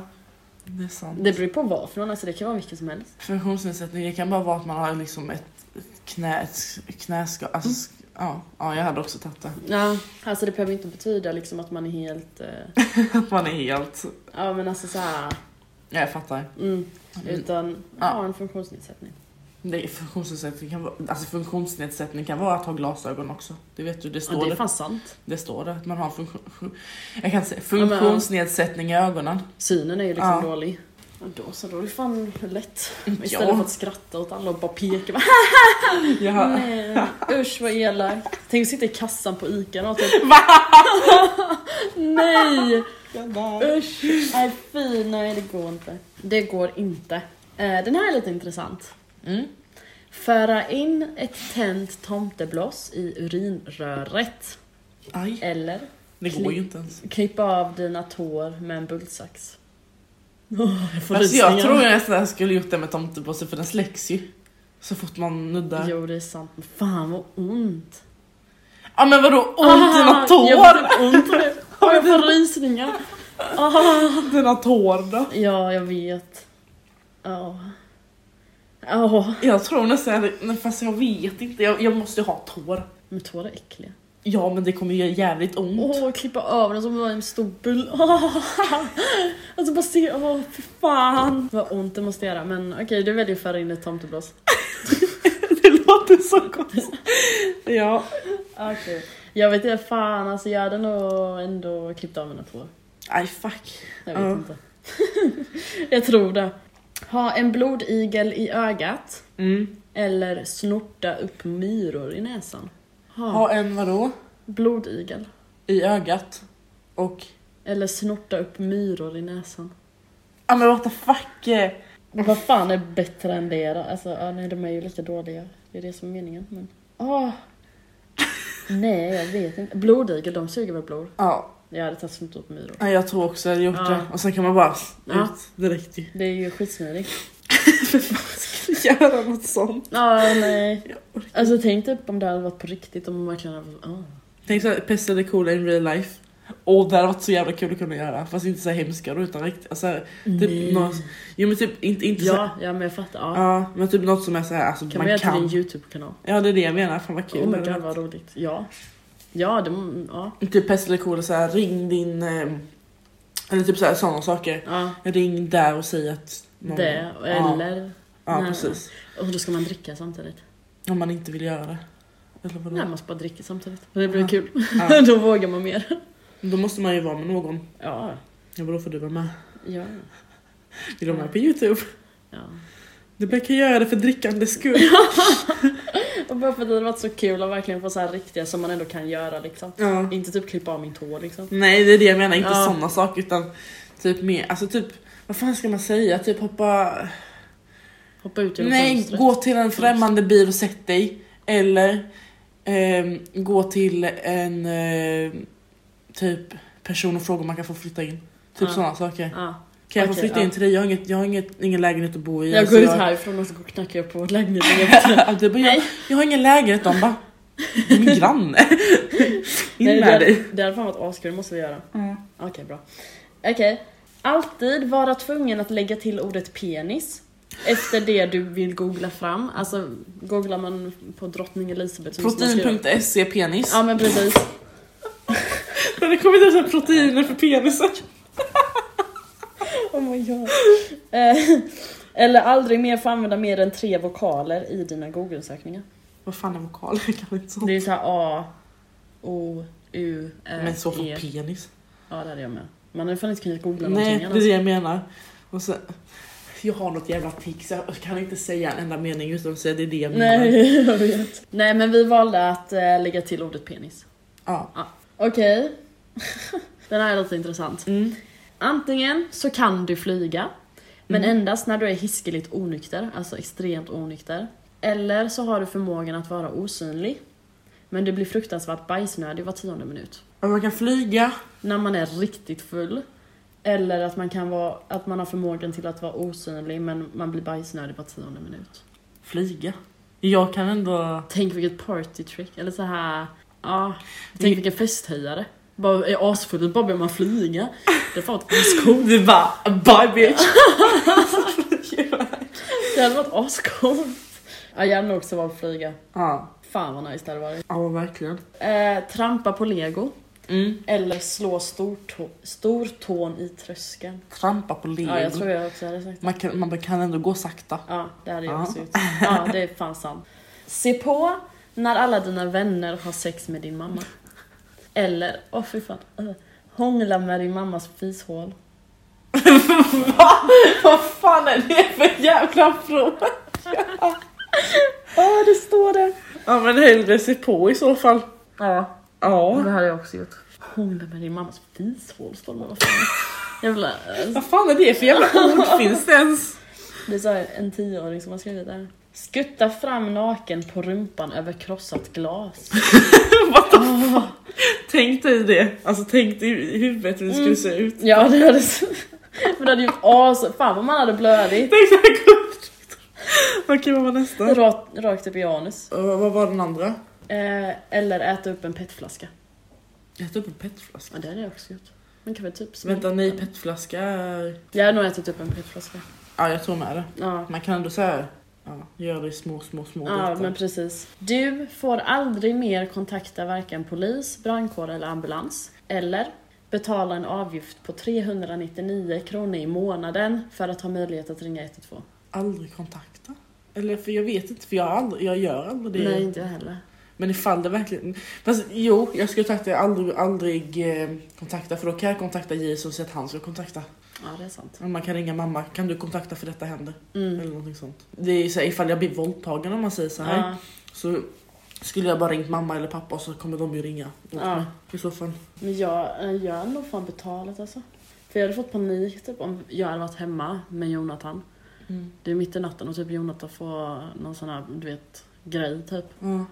Speaker 2: det är sant.
Speaker 1: Det beror på vad för någon, alltså det kan vara vilken som helst.
Speaker 2: Funktionsnedsättning, det kan bara vara att man har liksom ett, ett knä, ett knäskal. Alltså,
Speaker 1: Mm.
Speaker 2: sk- ja, ja, jag hade också tagit det.
Speaker 1: Ja, alltså det behöver inte betyda liksom att man är helt... eh,
Speaker 2: Att man är helt...
Speaker 1: ja men alltså såhär...
Speaker 2: Ja, jag fattar.
Speaker 1: Mm, utan
Speaker 2: Ja.
Speaker 1: har en funktionsnedsättning.
Speaker 2: Det är funktionsnedsättning, kan vara, alltså funktionsnedsättning kan vara att ha glasögon också. Det vet du, det
Speaker 1: Ja,
Speaker 2: står
Speaker 1: det är
Speaker 2: det.
Speaker 1: fan sant.
Speaker 2: Det står det. Att man har funktion... Jag kan säga
Speaker 1: men, ja.
Speaker 2: funktionsnedsättning i ögonen.
Speaker 1: Synen är ju liksom
Speaker 2: Ja.
Speaker 1: dålig. Och då så, då är det fan lätt. Mm, Istället
Speaker 2: Ja.
Speaker 1: för att skratta åt alla och bara peka. Bara,
Speaker 2: <laughs> Jag har...
Speaker 1: Nej, usch vad elak. Tänk att sitta i kassan på ICA och typ... nej! Usch! Nej fy, nej det går inte. Det går inte. Eh, Den här är lite intressant.
Speaker 2: Mm.
Speaker 1: Föra in ett tänt tomtebloss i urinröret.
Speaker 2: Aj,
Speaker 1: Eller
Speaker 2: det går ju inte ens.
Speaker 1: klippa av dina tår med en bultsax. Åh, jag får
Speaker 2: Alltså,
Speaker 1: rysningar.
Speaker 2: jag tror jag nästan jag skulle gjort det med tomtepåse för den släcks ju. Så fort man nuddar.
Speaker 1: Jo det är sant, men fan vad ont.
Speaker 2: Ja men vadå ont dina
Speaker 1: Jag
Speaker 2: tår?
Speaker 1: får typ ont av det. Åh, jag får rysningar. Ah.
Speaker 2: Dina tår då?
Speaker 1: Ja, jag vet. Ja. Ja,
Speaker 2: Jag tror nästan jag hade- nej, fast jag vet inte. Jag, jag måste ju ha tår.
Speaker 1: men tår är äckliga.
Speaker 2: Ja men det kommer göra jävligt ont.
Speaker 1: Åh, klippa över den som var en stor bull. <laughs> Åh. Alltså bara se, åh fy fan. Vad ont det måste göra, men okej du väljer att föra in ett tomteblås.
Speaker 2: <laughs> Det låter så konstigt. Ja.
Speaker 1: Okej. Jag vet inte, fan alltså jag hade nog ändå klippt av mina tår.
Speaker 2: Aj fuck.
Speaker 1: Jag vet
Speaker 2: Ja.
Speaker 1: inte. <laughs> jag tror det. Ha en blodigel i ögat
Speaker 2: Mm.
Speaker 1: eller snorta upp myror i näsan. Ha,
Speaker 2: Ha en vadå?
Speaker 1: blodigel.
Speaker 2: I ögat. Och...
Speaker 1: Eller snorta upp myror i näsan.
Speaker 2: Ja men what the fuck. eh.
Speaker 1: Vad fan är bättre än det då? Alltså, ja, nej, de är ju lika dåliga. Det är det som är meningen. Men... Ah. nej, jag vet inte. Blodigel, de suger väl blod?
Speaker 2: Ja.
Speaker 1: Jag hade tagit snott upp myror.
Speaker 2: Ja, jag tror också jag hade gjort
Speaker 1: Ja.
Speaker 2: det. Och sen kan man bara
Speaker 1: Ja.
Speaker 2: ut direkt ju.
Speaker 1: Det är ju skitsmidigt.
Speaker 2: <laughs> Göra något sånt.
Speaker 1: Ja, <laughs> nej. Alltså tänk typ om det hade varit på riktigt, om man verkligen hade... ja.
Speaker 2: Tänk såhär, pest eller cool in real life. Och det hade varit så jävla kul att kunna göra. Fast inte så här hemska då utan riktigt. Alltså, typ något, jo men typ inte, inte så här,
Speaker 1: Ja, ja men jag fattar. Ja.
Speaker 2: ja men typ något som är såhär alltså
Speaker 1: Kan man
Speaker 2: man
Speaker 1: göra till
Speaker 2: kan.
Speaker 1: din YouTube-kanal?
Speaker 2: Ja det är det jag menar, fan vad kul.
Speaker 1: Oh
Speaker 2: det
Speaker 1: my
Speaker 2: hade
Speaker 1: god
Speaker 2: varit.
Speaker 1: vad roligt. Ja. Ja, det... Ja.
Speaker 2: Typ pest eller cool, så här, ring din... ehm, eller typ såhär sådana saker.
Speaker 1: ja.
Speaker 2: Ring där och säg att... någon-
Speaker 1: Det, eller...
Speaker 2: Ja, ja
Speaker 1: Nej.
Speaker 2: precis.
Speaker 1: Och då ska man dricka samtidigt.
Speaker 2: Om man inte vill göra det. Eller vadå?
Speaker 1: Nej, man ska bara dricka samtidigt. Det blir
Speaker 2: Ja.
Speaker 1: kul. <laughs>
Speaker 2: Ja.
Speaker 1: då vågar man mer.
Speaker 2: Då måste man ju vara med någon.
Speaker 1: Ja.
Speaker 2: Ja, vadå får du vara med?
Speaker 1: Ja.
Speaker 2: Vill du vara med på Youtube?
Speaker 1: ja.
Speaker 2: Du bara kan göra det för drickandes skull.
Speaker 1: <laughs> Och bara för att det hade varit så kul att verkligen få så här riktiga som man ändå kan göra liksom.
Speaker 2: ja.
Speaker 1: Inte typ klippa av min tå liksom.
Speaker 2: Nej det är det jag menar, inte
Speaker 1: Ja.
Speaker 2: sådana saker utan typ mer, alltså typ vad fan ska man säga? Typ hoppa...
Speaker 1: Hoppa ut genom
Speaker 2: Nej,
Speaker 1: fönstret.
Speaker 2: gå till en främmande bil och sätt dig. Eller ehm, gå till en ehm, typ person och fråga om man kan få flytta in.
Speaker 1: Ja.
Speaker 2: Typ sådana saker.
Speaker 1: Ja.
Speaker 2: Kan jag få
Speaker 1: Okej,
Speaker 2: flytta
Speaker 1: ja.
Speaker 2: in till dig? Jag har, inget, jag har inget, ingen lägenhet att bo i.
Speaker 1: Jag
Speaker 2: Alltså,
Speaker 1: går ut härifrån och så går och knackar jag på lägenheten efter.
Speaker 2: Ja, <laughs> du bara, jag, jag har ingen lägenhet. De bara, "Du är min granne. In
Speaker 1: <laughs> Nej, det,
Speaker 2: med dig.
Speaker 1: hade- det hade fan varit askul, det måste vi göra. Okej, bra. Okej. Alltid vara tvungen att lägga till ordet penis efter det du vill googla fram. Alltså, googlar man på drottning Elisabeth så måste man skriva-
Speaker 2: Protein.se penis.
Speaker 1: Ja men precis.
Speaker 2: <laughs> Men det kommer inte ens här proteiner för penisar.
Speaker 1: Oh my god. Eh, Eller aldrig mer få använda mer än tre vokaler i dina google-sökningar.
Speaker 2: Vad fan är vokaler? Jag kan inte sånt.
Speaker 1: Det är så här A, O, U, Ä,
Speaker 2: Men så för
Speaker 1: E.
Speaker 2: penis.
Speaker 1: Ja det hade jag med. Man hade fan inte kunnat googla
Speaker 2: Nej,
Speaker 1: någonting
Speaker 2: det är
Speaker 1: annars.
Speaker 2: det jag menar. Och så, jag har något jävla tics. Jag kan inte säga en enda mening utan att säga det är det jag menar.
Speaker 1: Nej, <laughs> jag vet. Nej men vi valde att eh, lägga till ordet penis.
Speaker 2: Ja.
Speaker 1: Okej. <laughs> Den här är lite intressant.
Speaker 2: Mm.
Speaker 1: Antingen så kan du flyga, men
Speaker 2: Mm.
Speaker 1: endast när du är hiskeligt onykter, alltså extremt onykter. Eller så har du förmågan att vara osynlig, men du blir fruktansvärt bajsnödig var tionde minut.
Speaker 2: Men Man kan flyga.
Speaker 1: När man är riktigt full. Eller att man, kan vara, att man har förmågan till att vara osynlig men man blir bajsnödig var tionde minut.
Speaker 2: Flyga. Jag kan ändå...
Speaker 1: Tänk vilket party trick, eller så här. Ja,
Speaker 2: Det-
Speaker 1: tänk vilken festhöjare. Bara är asfull, bara börjar man flyga. Det är fan ett
Speaker 2: <laughs>
Speaker 1: ascoolt.
Speaker 2: Du bara, bye bitch!
Speaker 1: Det hade varit ascoolt. Ja, jag hade nog också valt att flyga.
Speaker 2: ja.
Speaker 1: Fan vad nice det hade varit.
Speaker 2: ja, verkligen.
Speaker 1: Eh, trampa på lego.
Speaker 2: Mm.
Speaker 1: Eller slå stortå, stortån i tröskeln.
Speaker 2: Trampa på lego.
Speaker 1: Ja, jag tror jag också hade sagt det.
Speaker 2: Man, kan, man kan ändå gå sakta.
Speaker 1: Ja, det hade jag
Speaker 2: Ja.
Speaker 1: också gjort. Ja, det är fan sant. Se på när alla dina vänner har sex med din mamma. Eller, åh fy fan. eh, Hångla med din mammas fishål.
Speaker 2: <laughs> Vad fan är det för jävla fråga?
Speaker 1: Ja, det står det.
Speaker 2: Ja men hellre se på i så fall.
Speaker 1: Ja,
Speaker 2: Ja.
Speaker 1: det hade jag också gjort. Hångla med din mammas fishål, står det. Vad fan? Jävla... eh,
Speaker 2: Vad fan är det för jävla <laughs> ord finns det ens?
Speaker 1: Det är så här en tioåring som har skrivit det här. Skutta fram naken på rumpan över krossat glas.
Speaker 2: What the fuck? Tänk dig det. Alltså tänk dig i huvudet hur det skulle se ut.
Speaker 1: Ja det hade <laughs> så... Men det hade gjort as... Fan vad man hade blödigt.
Speaker 2: Tänk så här gott. Okej vad var nästa?
Speaker 1: Rakt, rakt upp i anus.
Speaker 2: Eh, vad var den andra?
Speaker 1: Eh, eller äta upp en petflaska.
Speaker 2: Äta upp en petflaska.
Speaker 1: Ja det hade jag också gjort. Man kan väl typ smälta
Speaker 2: Vänta nej
Speaker 1: den.
Speaker 2: petflaska är...
Speaker 1: Jag hade nog ätit upp en petflaska.
Speaker 2: Ja jag tror med det.
Speaker 1: Ja.
Speaker 2: Man kan ändå såhär ja, göra det i små små små
Speaker 1: Ja
Speaker 2: bitar.
Speaker 1: men precis. Du får aldrig mer kontakta varken polis, brandkår eller ambulans. Eller betala en avgift på 399 kronor i månaden för att ha möjlighet att ringa 112.
Speaker 2: Aldrig kontakta. Eller för jag vet inte för jag, har aldrig, jag gör aldrig det.
Speaker 1: Nej inte jag heller.
Speaker 2: Men ifall det verkligen... Fast jo, jag skulle kontakta, aldrig, aldrig eh, kontakta för då kan jag kontakta JS och säga att han ska kontakta.
Speaker 1: Ja det är sant.
Speaker 2: Om Man kan ringa mamma, kan du kontakta för detta händer?
Speaker 1: Mm.
Speaker 2: Eller någonting sånt. Det är ju så här, ifall jag blir våldtagen om man säger så här.
Speaker 1: Ja.
Speaker 2: Så skulle jag bara ringt mamma eller pappa så kommer de ju ringa åt
Speaker 1: Ja.
Speaker 2: mig. I så fall.
Speaker 1: Men jag, eh, jag hade nog fan betalat alltså. För jag hade fått panik typ om jag hade varit hemma med Jonathan. Det är mitt i natten och typ Jonathan får någon sån här, du vet, grej typ.
Speaker 2: Ja.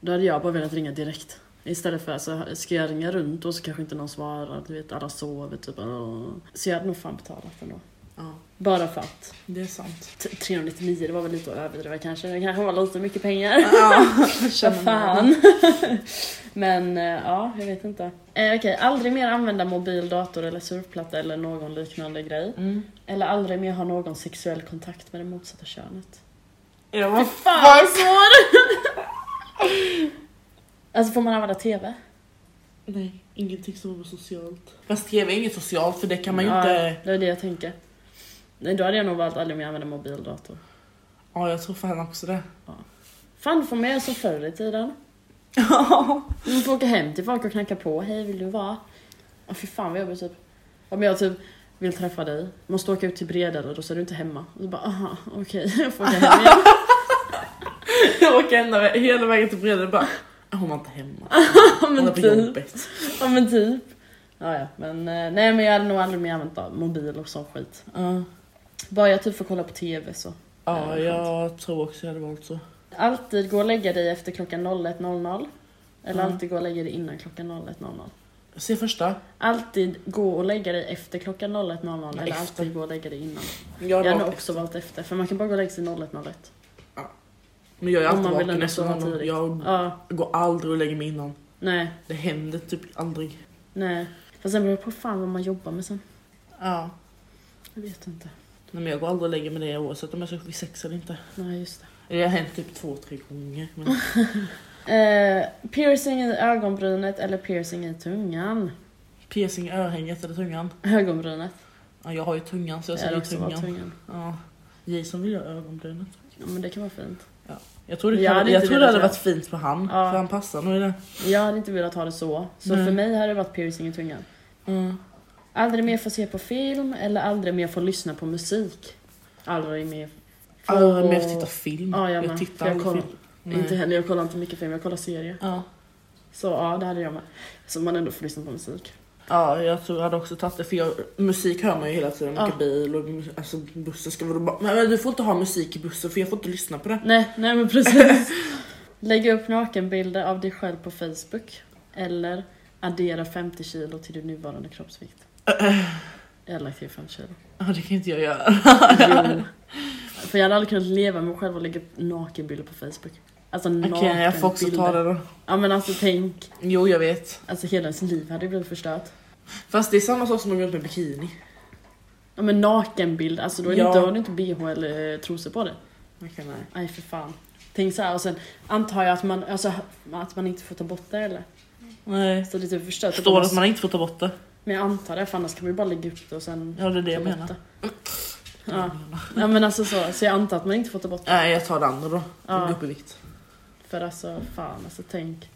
Speaker 1: Då hade jag bara velat ringa direkt. Istället för så här, ska jag ringa runt och så kanske inte någon svarar, du vet alla sover typ. "Åh." Så jag hade nog fan betalat ändå.
Speaker 2: Ja,
Speaker 1: Bara för att.
Speaker 2: det är
Speaker 1: <laughs>
Speaker 2: sant.
Speaker 1: T- 399, det var väl lite att överdriva kanske. Det kanske var lite mycket pengar.
Speaker 2: Ja,
Speaker 1: Vad fan. <laughs> Men eh, ja, jag vet inte. Eh, Okej, aldrig mer använda mobil, dator eller surfplatta eller någon liknande grej.
Speaker 2: Mm.
Speaker 1: Eller aldrig mer ha någon sexuell kontakt med det motsatta könet.
Speaker 2: Ja, vad
Speaker 1: Fan vad svår! <laughs> alltså får man använda TV?
Speaker 2: Nej, ingenting som var socialt. Fast tv är inget socialt för det kan man ju
Speaker 1: ja,
Speaker 2: inte...
Speaker 1: Det är det jag tänker. Nej, då hade jag nog valt aldrig mer använda mobil, dator.
Speaker 2: Ja, jag tror fan också det.
Speaker 1: Fan får man göra så förr i tiden? Man får åka hem till folk och knacka på. Hej, vill du vara? Åh fy fan vad jobbigt typ. Om jag typ vill träffa dig, måste åka ut till Bredare, då så är du inte hemma. Och så bara aha, okej, <laughs> jag <laughs> får åka hem igen.
Speaker 2: <laughs> jag åker ända, vä- hela vägen till Bredare och bara... "Ah, Hon var inte hemma.
Speaker 1: Ja,
Speaker 2: Hon är
Speaker 1: Ah, men
Speaker 2: på
Speaker 1: typ.
Speaker 2: jobbet.
Speaker 1: Ja men typ. Ja, ja. Men, eh, nej men jag hade nog aldrig mer använt av mobil och sån skit.
Speaker 2: Ja,
Speaker 1: Bara jag typ får kolla på TV så.
Speaker 2: ja jag tror också jag hade valt så.
Speaker 1: Alltid gå och lägga dig efter klockan 01.00. Eller
Speaker 2: Mm.
Speaker 1: alltid gå och lägga dig innan klockan 01.00.
Speaker 2: Se första.
Speaker 1: Alltid gå och lägga dig efter klockan 01.00 eller
Speaker 2: Efter.
Speaker 1: alltid gå och lägga dig innan.
Speaker 2: Jag
Speaker 1: Jag
Speaker 2: hade
Speaker 1: hade
Speaker 2: valt
Speaker 1: också valt efter, för man kan bara gå och lägga sig 0101.
Speaker 2: Men jag är
Speaker 1: Om
Speaker 2: alltid
Speaker 1: man vill
Speaker 2: vaken
Speaker 1: ändå
Speaker 2: efter
Speaker 1: sova
Speaker 2: honom.
Speaker 1: tidigt.
Speaker 2: Jag
Speaker 1: Ja,
Speaker 2: går aldrig och lägger mig innan.
Speaker 1: nej,
Speaker 2: Det händer typ aldrig.
Speaker 1: nej. Fast sen beror det på fan vad man jobbar med sen.
Speaker 2: Ja.
Speaker 1: Jag vet inte.
Speaker 2: Nej, men jag går aldrig och lägger mig det oavsett om jag ska upp vid sex eller inte.
Speaker 1: Nej, just det.
Speaker 2: Det har hänt typ två, tre gånger. Men...
Speaker 1: <laughs> Eh, piercing i ögonbrynet eller piercing i tungan?
Speaker 2: Piercing i örhänget eller tungan?
Speaker 1: Ögonbrynet.
Speaker 2: Ja, jag har ju tungan så jag
Speaker 1: hade
Speaker 2: säger
Speaker 1: också varit
Speaker 2: tungan.
Speaker 1: tungan.
Speaker 2: Ja. Jason vill ju ha ögonbrynet.
Speaker 1: Ja, men det kan vara fint.
Speaker 2: Jag tror det,
Speaker 1: Jag
Speaker 2: jag
Speaker 1: hade
Speaker 2: jag
Speaker 1: inte
Speaker 2: tror det
Speaker 1: velat
Speaker 2: hade
Speaker 1: göra.
Speaker 2: varit fint på han,
Speaker 1: Ja.
Speaker 2: för han passar nog i det.
Speaker 1: Jag hade inte velat ha det så, så
Speaker 2: Nej.
Speaker 1: för mig hade det varit piercing i tungan.
Speaker 2: Mm.
Speaker 1: Aldrig mer få se på film eller aldrig mer få lyssna på musik. Aldrig mer... få-
Speaker 2: Aldrig mer titta film.
Speaker 1: Ja, jag
Speaker 2: jag,
Speaker 1: med.
Speaker 2: tittar
Speaker 1: Jag
Speaker 2: aldrig
Speaker 1: kollar-
Speaker 2: film. Nej.
Speaker 1: Inte heller, jag kollar inte mycket film, jag kollar serier.
Speaker 2: Ja.
Speaker 1: Så ja, det hade jag med. Så man ändå får lyssna på musik.
Speaker 2: ja, jag tror jag hade också tagit det för jag, musik hör man ju hela tiden.
Speaker 1: Ja.
Speaker 2: Mycket bil och mus- alltså, bussen ska vara bara... Men du får inte ha musik i bussen för jag får inte lyssna på det.
Speaker 1: Nej, nej men precis. <laughs> Lägga upp nakenbilder av dig själv på Facebook. Eller addera 50 kilo till din nuvarande
Speaker 2: <clears throat>
Speaker 1: kroppsvikt. Jag hade lagt till 50 kilo.
Speaker 2: Ja, det kan inte jag <laughs> göra.
Speaker 1: Jo. För jag hade aldrig kunnat leva med mig själv och lägga upp nakenbilder på Facebook. Alltså
Speaker 2: Okej,
Speaker 1: nakenbilder.
Speaker 2: jag får också ta det då.
Speaker 1: Ja men alltså tänk,
Speaker 2: Jo, jag vet.
Speaker 1: alltså hela ens liv hade ju blivit förstört.
Speaker 2: Fast det är samma sak som att gå runt med bikini.
Speaker 1: Ja men nakenbild, alltså då är det
Speaker 2: Ja.
Speaker 1: inte, har du inte bh eller eh, trosor på dig.
Speaker 2: Okej, nej.
Speaker 1: Nej för fan. Tänk så här och sen antar jag att man, alltså, att man inte får ta bort det eller?
Speaker 2: nej.
Speaker 1: Så det är typ förstört.
Speaker 2: Står det att man inte får ta bort det?
Speaker 1: Men jag antar det, för annars kan man ju bara lägga upp det och sen...
Speaker 2: Ja, det är det jag
Speaker 1: ta bort
Speaker 2: menar.
Speaker 1: det. Ja. ja men alltså så, så jag antar att man inte får ta bort det.
Speaker 2: Nej, jag tar det andra då.
Speaker 1: Ja.
Speaker 2: Gå upp i vikt.
Speaker 1: För alltså fan alltså tänk.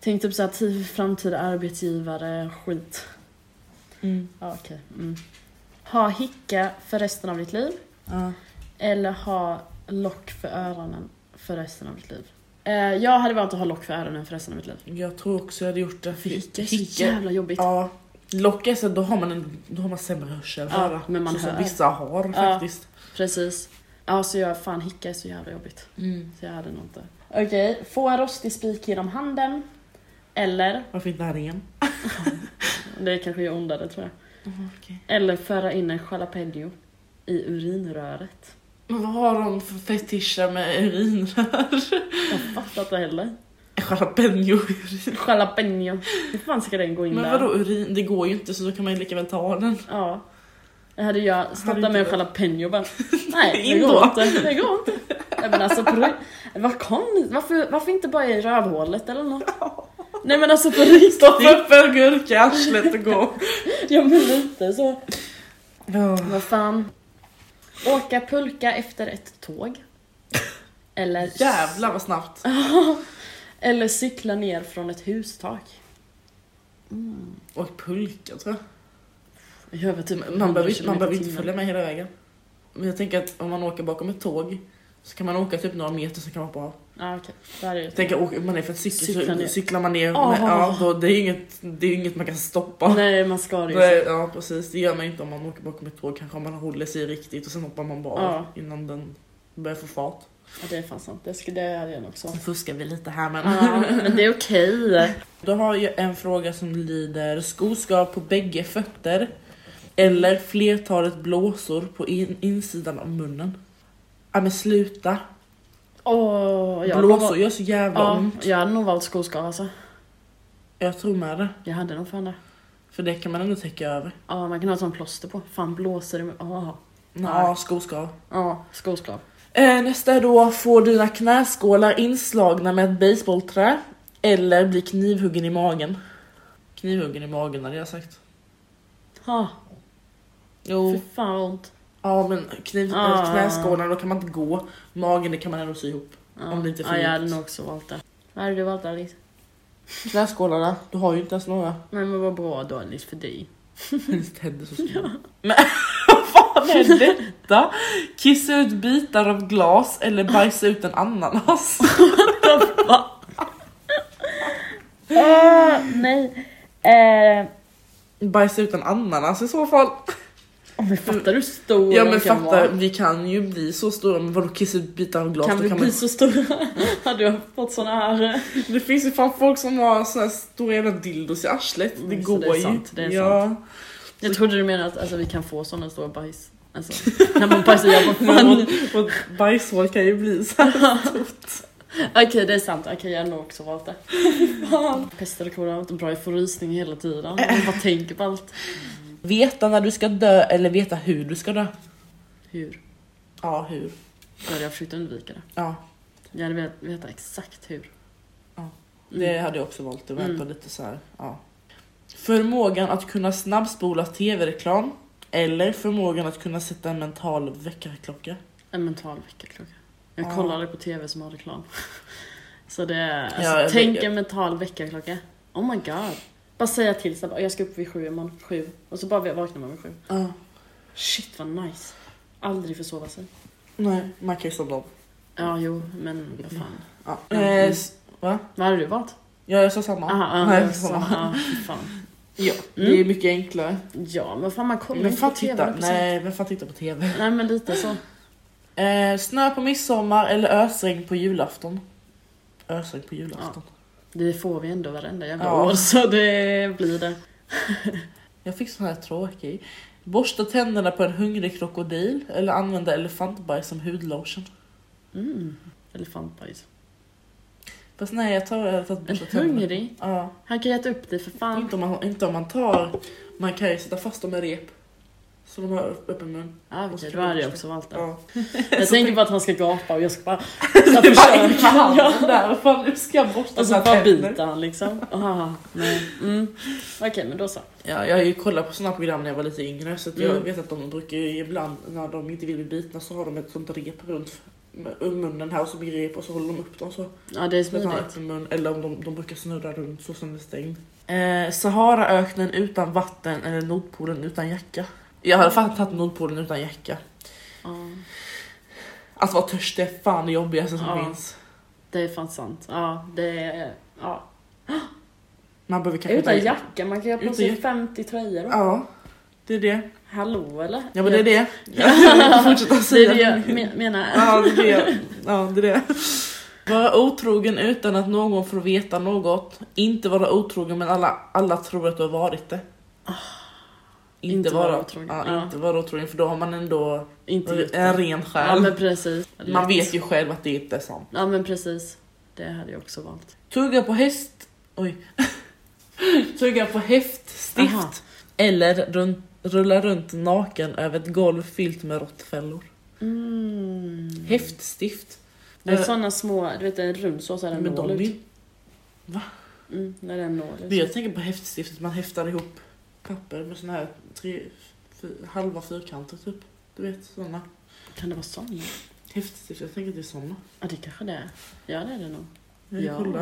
Speaker 1: Tänk typ såhär tid framtida arbetsgivare, skit. Ja okej. Mm. Ha hicka för resten av ditt liv.
Speaker 2: Ja.
Speaker 1: Eller ha lock för öronen för resten av ditt liv. Eh, jag hade valt att ha lock för öronen för resten av mitt liv.
Speaker 2: Jag tror också jag hade gjort det. För
Speaker 1: Hicka är så jävla jobbigt.
Speaker 2: Ja. Lock är så då har man, en, då har man sämre hörsel.
Speaker 1: Ja,
Speaker 2: Höra.
Speaker 1: men man
Speaker 2: så som
Speaker 1: hör.
Speaker 2: vissa har faktiskt.
Speaker 1: Precis. Ja så jag, fan hicka är så jävla jobbigt.
Speaker 2: Mm.
Speaker 1: Så jag hade nog inte. Okej, få en rostig spik genom handen. Eller,
Speaker 2: Varför inte här igen?
Speaker 1: det kanske gör ondare tror jag.
Speaker 2: Mm,
Speaker 1: Eller föra in en jalapeno i urinröret.
Speaker 2: Men vad har de för fetischer med <laughs> urinrör?
Speaker 1: Jag fattar inte heller.
Speaker 2: Jalapeno i urin.
Speaker 1: Jalapeno. Hur fan ska den gå in
Speaker 2: Men
Speaker 1: där?
Speaker 2: vadå urin? Det går ju inte så då kan man ju lika väl ta den.
Speaker 1: Ja. Det hade jag
Speaker 2: Hade
Speaker 1: startat
Speaker 2: inte
Speaker 1: med en
Speaker 2: det.
Speaker 1: jalapeno
Speaker 2: <laughs>
Speaker 1: bara. Nej,
Speaker 2: In
Speaker 1: det går
Speaker 2: då.
Speaker 1: inte. Det går inte. Nej, men alltså, på, ri- vad kon, varför, varför inte bara i rövhålet eller
Speaker 2: <laughs>
Speaker 1: något? Nej men alltså på
Speaker 2: Stoppa
Speaker 1: riktigt.
Speaker 2: upp en gurka i arslet och gå.
Speaker 1: Ja men lite så.
Speaker 2: <laughs> Ja.
Speaker 1: Vad fan. Åka pulka efter ett tåg. Eller,
Speaker 2: Jävlar vad snabbt.
Speaker 1: eller cykla ner från ett hustak.
Speaker 2: Och pulka tror jag.
Speaker 1: Jag gör väl typ
Speaker 2: Man, man behöver, inte-
Speaker 1: 100
Speaker 2: man behöver inte
Speaker 1: kilometer i
Speaker 2: följa med hela vägen. Men jag tänker att om man åker bakom ett tåg så kan man åka typ några meter så kan man bara...
Speaker 1: timmen. Ja Ah, okej, det här är ju...
Speaker 2: Jag tänker åker man ner för en cykel
Speaker 1: Cykla
Speaker 2: så
Speaker 1: ner.
Speaker 2: cyklar man ner.
Speaker 1: Ah.
Speaker 2: Men, ja, då, det är ju inget, det är ju inget man kan stoppa.
Speaker 1: Nej man ska det ju.
Speaker 2: Nej, ja precis, det gör man ju inte om man åker bakom ett tåg. Kanske om man håller sig riktigt och sen hoppar man bara av
Speaker 1: Ja.
Speaker 2: innan den börjar få fart.
Speaker 1: Ja, det är fan sant. Det, ska, det hade jag nog också.
Speaker 2: Nu fuskar vi lite här men.
Speaker 1: Ja,
Speaker 2: <laughs>
Speaker 1: men det är okej.
Speaker 2: Då har jag en fråga som lyder sko ska ha på bägge fötter eller flertalet blåsor på in, insidan av munnen. Ja men sluta.
Speaker 1: Åh, jag hade nog
Speaker 2: blåsor
Speaker 1: valt-
Speaker 2: gör så jävla
Speaker 1: Ja,
Speaker 2: ont.
Speaker 1: jag hade nog valt skoskav alltså.
Speaker 2: Jag tror med det.
Speaker 1: Jag hade nog fan det.
Speaker 2: För det kan man ändå täcka över.
Speaker 1: Ja, man kan ha ett sånt plåster på. Fan blåser det med... Ja,
Speaker 2: Ja, skoskav.
Speaker 1: ja skoskav.
Speaker 2: Eh, nästa är då, får dina knäskålar inslagna med ett baseballträ eller bli knivhuggen i magen? Knivhuggen i magen hade jag sagt.
Speaker 1: Ja, fy
Speaker 2: Jo.
Speaker 1: fan vad ont.
Speaker 2: Ja men kniv, eh,
Speaker 1: Ah.
Speaker 2: knäskålarna då kan man inte gå, magen det kan man ändå sy ihop.
Speaker 1: Ja.
Speaker 2: Om det inte är för
Speaker 1: ja, jag
Speaker 2: djupt.
Speaker 1: hade nog också valt det. Vad hade du valt Alice?
Speaker 2: Knäskålarna, du har ju inte ens <laughs> några.
Speaker 1: Nej men vad bra då Alice för dig.
Speaker 2: Helst händer så små. <laughs> Men vad fan
Speaker 1: <laughs>
Speaker 2: är detta? Kissa ut bitar av glas eller bajsa ut en ananas? <laughs>
Speaker 1: Åh, nej. Eh,
Speaker 2: Bajsa ut en ananas i så fall.
Speaker 1: oh, men fattar du hur stor
Speaker 2: Ja
Speaker 1: de
Speaker 2: men
Speaker 1: kan
Speaker 2: fatta,
Speaker 1: vara?
Speaker 2: vi kan ju bli så stora, men vadå kissa ut bitar av glas?
Speaker 1: Kan
Speaker 2: Då
Speaker 1: vi
Speaker 2: kan
Speaker 1: bli
Speaker 2: man...
Speaker 1: så stora? <laughs> Hade jag fått såna här...
Speaker 2: Det finns ju fan folk som har såna här stora jävla dildos i arslet, det
Speaker 1: Mm, så
Speaker 2: går
Speaker 1: det är
Speaker 2: ju.
Speaker 1: sant, det är
Speaker 2: ja.
Speaker 1: Jag trodde du menade att alltså, vi kan få såna stora bajs. Alltså, <laughs> när man bajsar, jag bara
Speaker 2: <laughs> Men
Speaker 1: fan.
Speaker 2: vårt- vårt bajshål kan ju bli så här stort.
Speaker 1: <laughs> Okej det är sant, okej jag hade nog också valt
Speaker 2: <laughs>
Speaker 1: det. Pest eller kolera har varit bra, jag får rysning hela tiden.
Speaker 2: Eh.
Speaker 1: Jag bara tänker på allt.
Speaker 2: Veta när du ska dö eller veta hur du ska dö?
Speaker 1: Hur?
Speaker 2: Ja, hur?
Speaker 1: Då hade jag försökt undvika det.
Speaker 2: Ja,
Speaker 1: Jag hade velat veta exakt hur.
Speaker 2: Ja,
Speaker 1: Mm.
Speaker 2: det hade jag också valt. Det var
Speaker 1: Mm.
Speaker 2: ändå lite så här, ja. Förmågan att kunna snabbspola tv-reklam eller förmågan att kunna sätta en mental väckarklocka.
Speaker 1: En mental väckarklocka. Jag
Speaker 2: Ja.
Speaker 1: kollade på tv som har reklam. <laughs> Så det är, alltså,
Speaker 2: jag
Speaker 1: tänk
Speaker 2: vet.
Speaker 1: en mental väckarklocka. Oh my god. Bara säga till så här, bara, jag ska upp vid sju imorgon, sju. Och så bara vaknar man vid sju.
Speaker 2: Ja.
Speaker 1: Shit vad nice. Aldrig försova sig.
Speaker 2: Nej, man kan ju somna om.
Speaker 1: Ja, jo, men vad fan.
Speaker 2: Ja.
Speaker 1: Mm.
Speaker 2: Eh, s- va?
Speaker 1: Vad hade du valt?
Speaker 2: Ja, jag sa samma.
Speaker 1: Aha, ja,
Speaker 2: Nej,
Speaker 1: det
Speaker 2: jag
Speaker 1: var
Speaker 2: sa
Speaker 1: så.
Speaker 2: samma.
Speaker 1: Ja, fy fan.
Speaker 2: Ja, det är
Speaker 1: Mm.
Speaker 2: mycket enklare.
Speaker 1: Ja, men fan man kollar
Speaker 2: Men
Speaker 1: inte
Speaker 2: fan
Speaker 1: på TV
Speaker 2: titta,
Speaker 1: på sånt.
Speaker 2: nej, men fan titta på tv.
Speaker 1: Nej, men lite så.
Speaker 2: Eh, snö på midsommar eller ösregn på julafton? Ösregn på julafton.
Speaker 1: Det får vi ändå varenda jävla
Speaker 2: Ja.
Speaker 1: år, så det blir det.
Speaker 2: Jag fick sån här tråkig. Borsta tänderna på en hungrig krokodil eller använda elefantbajs som hudlotion.
Speaker 1: Mm. Elefantbajs.
Speaker 2: Fast nej, jag tar jag tar
Speaker 1: En
Speaker 2: borsta tänderna.
Speaker 1: hungrig?
Speaker 2: Ja.
Speaker 1: Han kan ju äta upp dig för fan.
Speaker 2: Inte om, man, inte om man tar... Man kan ju sätta fast dem i rep. Så de har öppen mun.
Speaker 1: Ja,
Speaker 2: Och
Speaker 1: Ah,
Speaker 2: så
Speaker 1: okej, då
Speaker 2: kan
Speaker 1: hade
Speaker 2: man-
Speaker 1: jag också valt det.
Speaker 2: Ja.
Speaker 1: Jag tänker bara att han ska gapa och jag Alltså, ska bara...
Speaker 2: <laughs> Det
Speaker 1: Så
Speaker 2: var i
Speaker 1: försöka.
Speaker 2: handen där. Vad Fan, nu ska jag borsta
Speaker 1: Och så
Speaker 2: mina
Speaker 1: bara
Speaker 2: tänder.
Speaker 1: biter han liksom. Ah, nej. Mm. Okej, men då så.
Speaker 2: Ja, jag har ju kollat på sådana program när jag var lite yngre så att jag
Speaker 1: Mm.
Speaker 2: vet att de brukar ju ibland när de inte vill bli bitna så har de ett sånt rep runt med- um, munnen här och så blir det rep och så håller de upp dem så.
Speaker 1: Ja, det är
Speaker 2: Så att de har
Speaker 1: smidigt.
Speaker 2: öppen mun eller om de, de brukar snurra runt så som det är stängd. Eh, Saharaöknen utan vatten eller Nordpolen utan jacka? Jag hade fan tagit Nordpolen utan jacka.
Speaker 1: Ja,
Speaker 2: Att vara törstig är fan det jobbigaste som
Speaker 1: Ja.
Speaker 2: finns.
Speaker 1: det är fan sant. Ja, det är... Ja.
Speaker 2: Man behöver kanske
Speaker 1: Utan
Speaker 2: inte-
Speaker 1: jacka, man kan ju ha på
Speaker 2: Utan
Speaker 1: sig
Speaker 2: jacka.
Speaker 1: 50 tröjor. då.
Speaker 2: Ja, det är det.
Speaker 1: Hallå eller?
Speaker 2: Ja men det är
Speaker 1: Jag- <laughs>
Speaker 2: det. Jag vill fortsätta
Speaker 1: Det
Speaker 2: säga.
Speaker 1: är det jag me- menar.
Speaker 2: Ja, det är det. Ja, det, är det. Vara otrogen utan att någon får veta något. Inte vara otrogen men alla, alla tror att du har varit det. Ah, Inte,
Speaker 1: Inte
Speaker 2: vara,
Speaker 1: vara otrogen.
Speaker 2: Ja,
Speaker 1: Ja.
Speaker 2: Inte vara otrogen för då har man ändå
Speaker 1: Inte gjort
Speaker 2: en
Speaker 1: det.
Speaker 2: ren
Speaker 1: Ja,
Speaker 2: själ.
Speaker 1: men precis.
Speaker 2: Man vet ju själv att det inte är sant.
Speaker 1: Ja, men precis. Det hade jag också valt.
Speaker 2: Tugga på häst... Oj. <laughs> Tugga på häftstift.
Speaker 1: Aha.
Speaker 2: Eller run, rulla runt naken över ett golv fyllt med råttfällor.
Speaker 1: Mm.
Speaker 2: Häftstift.
Speaker 1: Det är
Speaker 2: Eh,
Speaker 1: såna små, du vet en rund så så är det en
Speaker 2: men de
Speaker 1: nål
Speaker 2: är ju
Speaker 1: ut. Mm, när det är en nål
Speaker 2: Men jag
Speaker 1: ut.
Speaker 2: tänker på häftstiftet, man häftar ihop papper med såna här tre, fy- halva fyrkanter typ. Du vet såna.
Speaker 1: Kan det vara såna?
Speaker 2: Häftstift, jag tänker att det är såna.
Speaker 1: Ja det kanske det är. Ja det är det nog.
Speaker 2: Jag
Speaker 1: Ja.
Speaker 2: ja. kolla.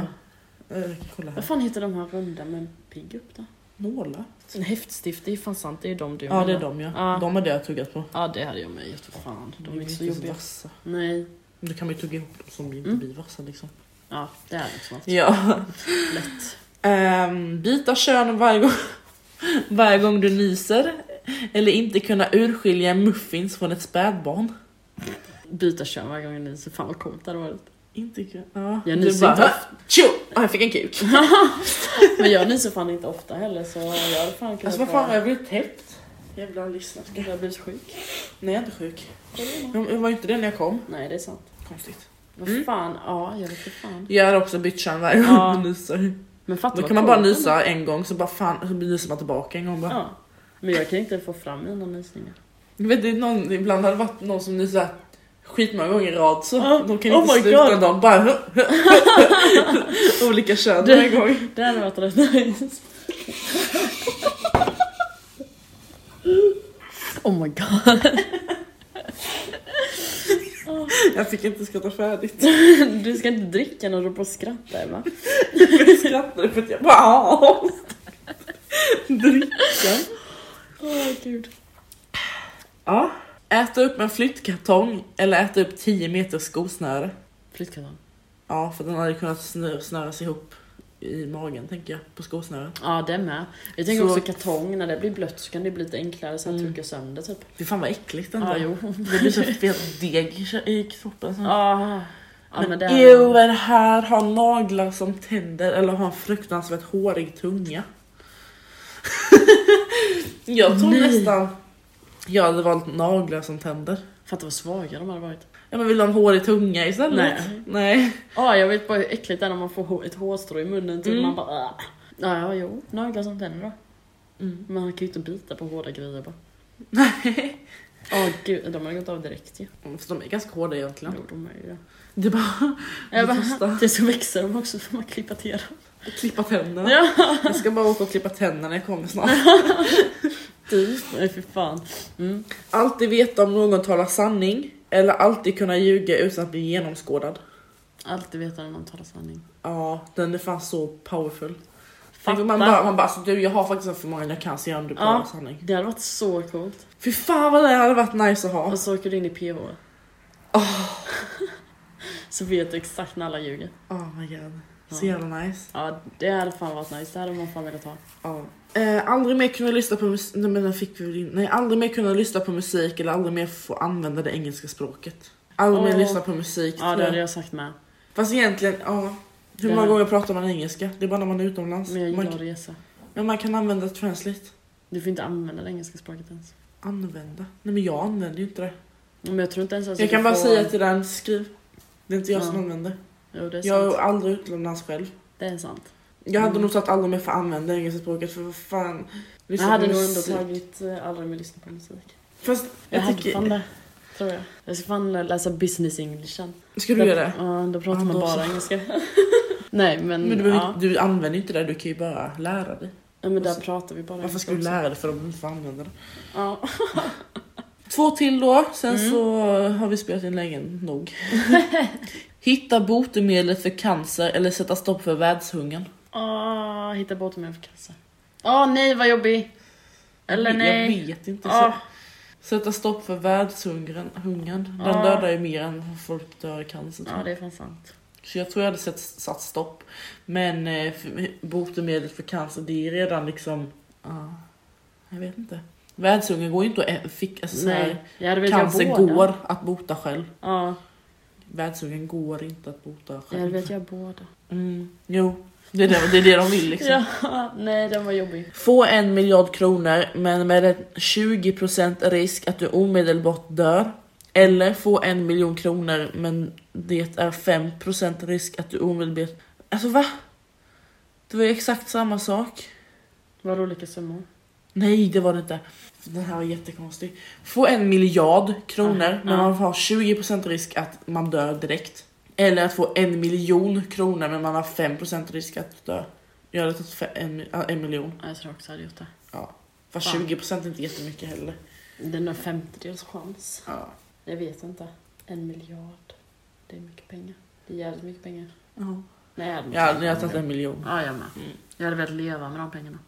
Speaker 2: Eh, Jag kan kolla
Speaker 1: Vad
Speaker 2: här.
Speaker 1: fan heter de här runda med en pigg upp då?
Speaker 2: Nålar?
Speaker 1: En häftstift, det är ju fan sant. Det är ju de du
Speaker 2: Ja det är
Speaker 1: menar.
Speaker 2: de ja.
Speaker 1: Ja.
Speaker 2: De har det jag tuggat på.
Speaker 1: Ja det hade jag med gett för fan. De är inte så
Speaker 2: ju
Speaker 1: jobbiga.
Speaker 2: vassa.
Speaker 1: Nej.
Speaker 2: Men Då kan man ju tugga ihop dem som inte
Speaker 1: Mm.
Speaker 2: blir vassa liksom.
Speaker 1: Ja det hade jag också valt.
Speaker 2: Ja.
Speaker 1: Lätt.
Speaker 2: <laughs> Ehm, byta kön varje gång, <laughs> varje gång du nyser. Eller inte kunna urskilja muffins från ett spädbarn.
Speaker 1: byta kön varje gång nu, så fan vad coolt det hade varit.
Speaker 2: Inte kul. Ja.
Speaker 1: Jag
Speaker 2: Du
Speaker 1: nyser inte
Speaker 2: bara,
Speaker 1: ofta.
Speaker 2: Tjo! Ja, jag fick en kuk.
Speaker 1: Men jag nyser fan inte ofta heller så jag hade fan kunnat
Speaker 2: Alltså vad fan har jag blivit täppt? Jävla
Speaker 1: Jag
Speaker 2: lyssnarska.
Speaker 1: har blivit sjuk.
Speaker 2: Nej jag är inte sjuk. Jag jag var inte det när jag kom.
Speaker 1: Nej det är sant.
Speaker 2: Konstigt.
Speaker 1: Vad
Speaker 2: Mm.
Speaker 1: fan, ja jag vet inte fan.
Speaker 2: Jag har också bytt kön varje gång
Speaker 1: Ja.
Speaker 2: jag nyser.
Speaker 1: Men fatta
Speaker 2: Då
Speaker 1: vad
Speaker 2: kan man bara
Speaker 1: coolt.
Speaker 2: nysa en gång så bara fan så nyser man tillbaka en gång bara.
Speaker 1: Ja. Men jag kan inte få fram mina nysningar.
Speaker 2: Jag vet, det är någon, ibland har det varit någon som nyser skitmånga gånger i rad så
Speaker 1: Ja.
Speaker 2: de kan
Speaker 1: Oh
Speaker 2: inte
Speaker 1: my
Speaker 2: sluta.
Speaker 1: God.
Speaker 2: De bara
Speaker 1: <laughs>
Speaker 2: olika kön
Speaker 1: Du-
Speaker 2: varje gång.
Speaker 1: <laughs> Det hade varit rätt nice. Oh my god.
Speaker 2: Jag fick inte skratta färdigt.
Speaker 1: <laughs> Du ska inte dricka när du är på och skrattar Emma.
Speaker 2: Jag skrattade för att jag bara "Ah." dricka.
Speaker 1: Åh oh, gud.
Speaker 2: Ja. Äta upp en flyttkartong eller äta upp 10 meters skosnöre.
Speaker 1: Flyttkartong.
Speaker 2: Ja, för den hade kunnat snö- snöras ihop i magen tänker jag, på skosnöret.
Speaker 1: Ja det med. Jag tänker
Speaker 2: Så-
Speaker 1: också kartong, när det blir blött så kan det bli lite enklare så att
Speaker 2: Mm.
Speaker 1: trycka sönder typ.
Speaker 2: Fy fan vad äckligt ändå.
Speaker 1: Ja jo.
Speaker 2: Det blir så fet deg i kö- i kroppen. Så.
Speaker 1: Ah. Ja, men
Speaker 2: men
Speaker 1: det
Speaker 2: ew, vad är det här? Ha naglar som tänder eller ha en fruktansvärt hårig tunga. <laughs> jag tror
Speaker 1: Nej.
Speaker 2: nästan jag hade valt naglar som tänder.
Speaker 1: Fattar vad svaga de hade varit.
Speaker 2: Ja men vill du ha en hårig tunga istället?
Speaker 1: Nej.
Speaker 2: Nej.
Speaker 1: Ja, jag vet bara hur äckligt det är när man får hå- ett hårstrå i munnen typ.
Speaker 2: Mm.
Speaker 1: Man bara "Åh." Ja, ja, jo. Naglar som tänder då.
Speaker 2: Mm.
Speaker 1: Men han kan ju inte bita på hårda grejer bara. Åh gud, de har gått av direkt ju.
Speaker 2: <laughs> För de är ganska hårda egentligen.
Speaker 1: Jo, de är ju det.
Speaker 2: Det är bara
Speaker 1: <laughs> Jag
Speaker 2: första.
Speaker 1: bara, det så växer de också får man klippa till dem.
Speaker 2: att klippa tänderna.
Speaker 1: Ja.
Speaker 2: Jag ska bara åka och klippa tänderna när jag kommer snart.
Speaker 1: Typ. Nej fy fan. Mm.
Speaker 2: Alltid veta om någon talar sanning eller alltid kunna ljuga utan att bli genomskådad.
Speaker 1: Alltid veta när någon talar sanning.
Speaker 2: Ja, den är fan så powerful. Tänk
Speaker 1: Fatta.
Speaker 2: om man bara, man bara alltså, du jag har faktiskt en förmåga jag kan se om du talar
Speaker 1: Ja.
Speaker 2: sanning.
Speaker 1: Det hade varit så coolt.
Speaker 2: Fy fan vad det hade varit nice att ha.
Speaker 1: Och så åker du in i PH. <laughs> så vet du exakt när alla ljuger.
Speaker 2: Oh my god. Så
Speaker 1: Ja.
Speaker 2: jävla nice.
Speaker 1: Ja, det hade fan varit nice. Det hade man fan velat ha.
Speaker 2: Ja. Eh, aldrig mer kunna lyssna på musik, nej men den fick vi väl in. Nej, aldrig mer kunna lyssna på musik eller aldrig mer få använda det engelska språket. Aldrig mer
Speaker 1: Åh.
Speaker 2: lyssna på musik.
Speaker 1: Ja, det
Speaker 2: tror jag.
Speaker 1: hade jag sagt med.
Speaker 2: Alltså, Fast egentligen, ja. Hur
Speaker 1: Ja.
Speaker 2: många gånger pratar man engelska? Det är bara när man är utomlands.
Speaker 1: Men jag
Speaker 2: man,
Speaker 1: gillar att resa.
Speaker 2: men man kan använda translate.
Speaker 1: Du får inte använda det engelska språket ens.
Speaker 2: Använda? Nej men jag använder ju inte det.
Speaker 1: Men jag tror inte ens att
Speaker 2: jag
Speaker 1: Alltså, du
Speaker 2: kan bara
Speaker 1: får-
Speaker 2: säga till den, skriv. Det är inte jag som
Speaker 1: Ja.
Speaker 2: använder.
Speaker 1: Jo, det är sant.
Speaker 2: Jag är aldrig utomlands själv.
Speaker 1: Det är sant.
Speaker 2: Jag hade
Speaker 1: Mm.
Speaker 2: nog sagt aldrig mer för använda engelska språket för vad fan. Liksom,
Speaker 1: Jag
Speaker 2: lyssna
Speaker 1: hade
Speaker 2: på
Speaker 1: nog ändå
Speaker 2: musik.
Speaker 1: tagit eh, aldrig mer lyssna på musik.
Speaker 2: Fast
Speaker 1: Jag,
Speaker 2: jag,
Speaker 1: hade fan
Speaker 2: tycker...
Speaker 1: det. Tror jag. Jag ska fan läsa business englishen.
Speaker 2: Ska du göra det?
Speaker 1: Ja, då pratar
Speaker 2: Ja,
Speaker 1: man
Speaker 2: då
Speaker 1: bara
Speaker 2: så. <laughs>
Speaker 1: engelska. Nej men,
Speaker 2: Men du, behöver
Speaker 1: ja.
Speaker 2: inte- du använder ju inte det, du kan ju bara lära dig.
Speaker 1: Nej, men där
Speaker 2: Alltså,
Speaker 1: pratar vi bara
Speaker 2: Varför
Speaker 1: engelska
Speaker 2: ska du
Speaker 1: också.
Speaker 2: lära dig för om du inte får använda det?
Speaker 1: Ja.
Speaker 2: Två till då, sen
Speaker 1: Mm.
Speaker 2: så har vi spelat in länge
Speaker 1: <laughs>
Speaker 2: nog. Hitta botemedlet för cancer eller sätta stopp för världshungern.
Speaker 1: Ah, hitta botemedel för cancer. Åh nej vad jobbig! Eller
Speaker 2: jag,
Speaker 1: nej.
Speaker 2: Jag vet inte.
Speaker 1: Ah,
Speaker 2: Sätta stopp för världshungern. Hungern. Den
Speaker 1: Ja.
Speaker 2: dödar ju mer än vad folk dör i cancer. tror
Speaker 1: ja
Speaker 2: jag.
Speaker 1: det är fan sant.
Speaker 2: Så jag tror jag hade sett, satt stopp. Men eh, för- botemedlet för cancer det är redan liksom... ja, jag vet inte. Världshungern går ju inte att... ä- Fick, alltså, så
Speaker 1: Nej,
Speaker 2: här,
Speaker 1: jag hade velat
Speaker 2: cancer
Speaker 1: göra båda.
Speaker 2: går att bota själv.
Speaker 1: Ja,
Speaker 2: Världshungern går inte att bota
Speaker 1: jag hade
Speaker 2: själv.
Speaker 1: velat göra båda.
Speaker 2: Mm, jo, det är det, det är det de vill liksom.
Speaker 1: Ja, <laughs> nej den var jobbig.
Speaker 2: Få en miljard kronor men med en 20% risk att du omedelbart dör. Eller få en miljon kronor men det är 5% risk att du omedelbart... Alltså va? Det var ju exakt samma sak.
Speaker 1: Var liksom. det olika summor?
Speaker 2: Nej det var det inte. Den här var jättekonstig. Få en miljard kronor
Speaker 1: Ja,
Speaker 2: men
Speaker 1: ja.
Speaker 2: man har 20% risk att man dör direkt. Eller att få en miljon kronor men man har 5% risk att dö. Jag hade tagit fe- en, en miljon.
Speaker 1: Ja, jag tror också jag hade gjort det.
Speaker 2: Fast
Speaker 1: Fan.
Speaker 2: 20% är inte jättemycket heller.
Speaker 1: Det är nog en femtedels chans.
Speaker 2: Ja.
Speaker 1: Jag vet inte. En miljard. Det är mycket pengar. Det är jävligt mycket pengar. Nej, jag hade nog
Speaker 2: Ja, ni har tagit en miljon.
Speaker 1: Ja, jag med.
Speaker 2: Mm.
Speaker 1: Jag hade velat leva med de pengarna.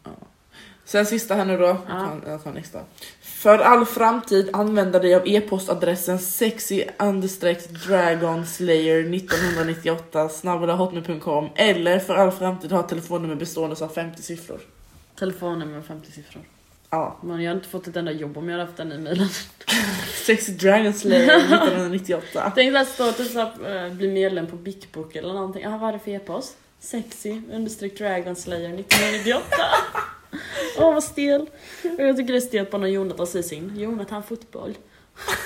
Speaker 2: Sen sista här nu då. Jag tar, jag tar nästa. För all framtid använda dig av e-postadressen sexy dragon slayer 1998 hotmail.com eller för all framtid ha ett telefonnummer bestående av 50 siffror.
Speaker 1: Telefonnummer med 50 siffror.
Speaker 2: Ja.
Speaker 1: Men jag har inte fått ett enda jobb om jag hade haft den i mejlen. <laughs>
Speaker 2: Sexy Dragon Slayer 1998.
Speaker 1: Tänk såhär, stå typ såhär, eh, bli medlem på Big Book eller någonting. Ja, vad är det för e-post? Sexy understreck Dragon Slayer 1998. Åh vad stel. Och jag tycker det är stelt bara när Jonathan säger sin. Jonathan fotboll.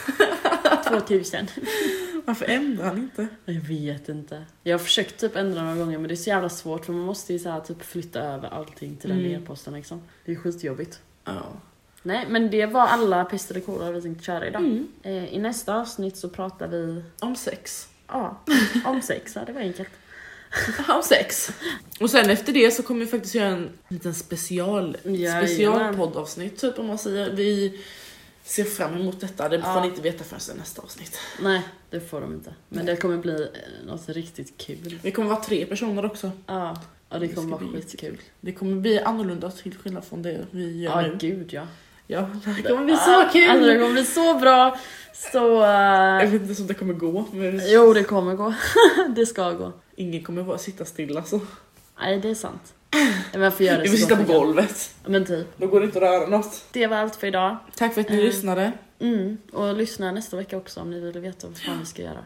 Speaker 1: <laughs> 2000.
Speaker 2: Varför ändrar han inte?
Speaker 1: Jag vet inte. Jag har försökt typ ändra några gånger men det är så jävla svårt för man måste ju så här, typ flytta över allting till den
Speaker 2: Mm.
Speaker 1: e-posten liksom. Det är skitjobbigt.
Speaker 2: Ja.
Speaker 1: Nej men det var alla pest eller kolera vi tänkte köra idag.
Speaker 2: Mm.
Speaker 1: Eh, I nästa avsnitt så pratar vi
Speaker 2: Om sex.
Speaker 1: ja,
Speaker 2: <laughs>
Speaker 1: om sex, ja, det var enkelt.
Speaker 2: Om sex. Och sen efter det så kommer vi faktiskt göra en liten special,
Speaker 1: Jajamän.
Speaker 2: special poddavsnitt. Typ om man säger. Vi ser fram emot detta. Det får
Speaker 1: Ja.
Speaker 2: ni inte veta förrän i nästa avsnitt.
Speaker 1: Nej, det får de inte. Men
Speaker 2: Nej.
Speaker 1: det kommer bli eh, något riktigt kul.
Speaker 2: Vi kommer vara tre personer också.
Speaker 1: Ja, och det
Speaker 2: Det
Speaker 1: kommer
Speaker 2: ska
Speaker 1: vara
Speaker 2: bli
Speaker 1: skitkul.
Speaker 2: Det kommer bli annorlunda till skillnad från det vi gör
Speaker 1: Ja,
Speaker 2: nu.
Speaker 1: gud ja.
Speaker 2: Ja, det här kommer bli så kul!
Speaker 1: Alltså det kommer bli så bra. Så...
Speaker 2: Jag <laughs>
Speaker 1: eh,
Speaker 2: vet inte ens om det kommer gå, men
Speaker 1: jo, det kommer gå. <laughs> det ska gå.
Speaker 2: ingen kommer bara sitta stilla så.
Speaker 1: Nej, det är sant. Men jag får göra det
Speaker 2: <laughs> Vi får
Speaker 1: så
Speaker 2: sitta
Speaker 1: gott
Speaker 2: på
Speaker 1: jag kan.
Speaker 2: golvet.
Speaker 1: Ja, Men typ.
Speaker 2: Då går det inte att röra något.
Speaker 1: Det var allt för idag.
Speaker 2: Tack för att ni
Speaker 1: Eh.
Speaker 2: lyssnade.
Speaker 1: Mm. Och lyssna nästa vecka också om ni vill veta vad fan vi ska göra.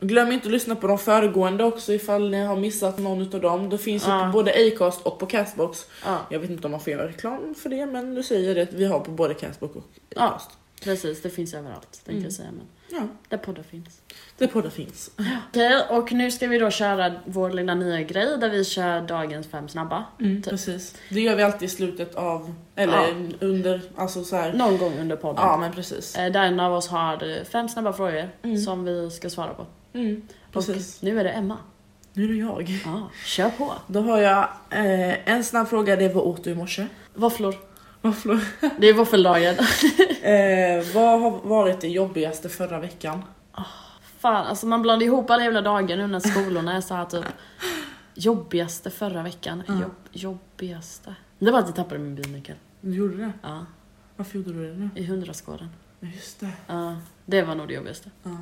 Speaker 2: Glöm inte att lyssna på de föregående också ifall ni har missat någon utav dem. Det finns ju
Speaker 1: Ja.
Speaker 2: på både Acast och på Castbox.
Speaker 1: Ja,
Speaker 2: Jag vet inte om man får göra reklam för det men du säger det, vi har på både Castbox och
Speaker 1: Ja.
Speaker 2: Acast.
Speaker 1: precis. Det finns överallt, tänkte
Speaker 2: Mm.
Speaker 1: jag säga. Men
Speaker 2: Ja,
Speaker 1: där poddar finns.
Speaker 2: det poddar finns.
Speaker 1: Okej, och nu ska vi då köra vår lilla nya grej där vi kör dagens fem snabba. Typ.
Speaker 2: Mm, Precis. Det gör vi alltid i slutet av, eller under, alltså så här.
Speaker 1: Någon gång under podden.
Speaker 2: Ja men precis.
Speaker 1: Eh, Där en av oss har eh, fem snabba frågor
Speaker 2: Mm.
Speaker 1: som vi ska svara på.
Speaker 2: Mm, precis.
Speaker 1: Och nu är det Emma.
Speaker 2: Nu är det jag.
Speaker 1: Ja, kör på!
Speaker 2: Då har jag eh, en snabb fråga, det är vad åt du i morse?
Speaker 1: Våfflor.
Speaker 2: Våfflor.
Speaker 1: Det är våffeldagen.
Speaker 2: Eh, vad har varit det jobbigaste förra veckan?
Speaker 1: Fan, alltså man blandar ihop alla jävla dagar nu när skolorna är så här typ jobbigaste förra veckan.
Speaker 2: Ja.
Speaker 1: Jobb, jobbigaste. Det var att jag tappade min bilnyckel.
Speaker 2: Du gjorde det?
Speaker 1: Ja,
Speaker 2: Varför gjorde du det nu?
Speaker 1: i hundraskåren.
Speaker 2: Ja, Just det.
Speaker 1: Ja, det var nog det jobbigaste.
Speaker 2: Ja.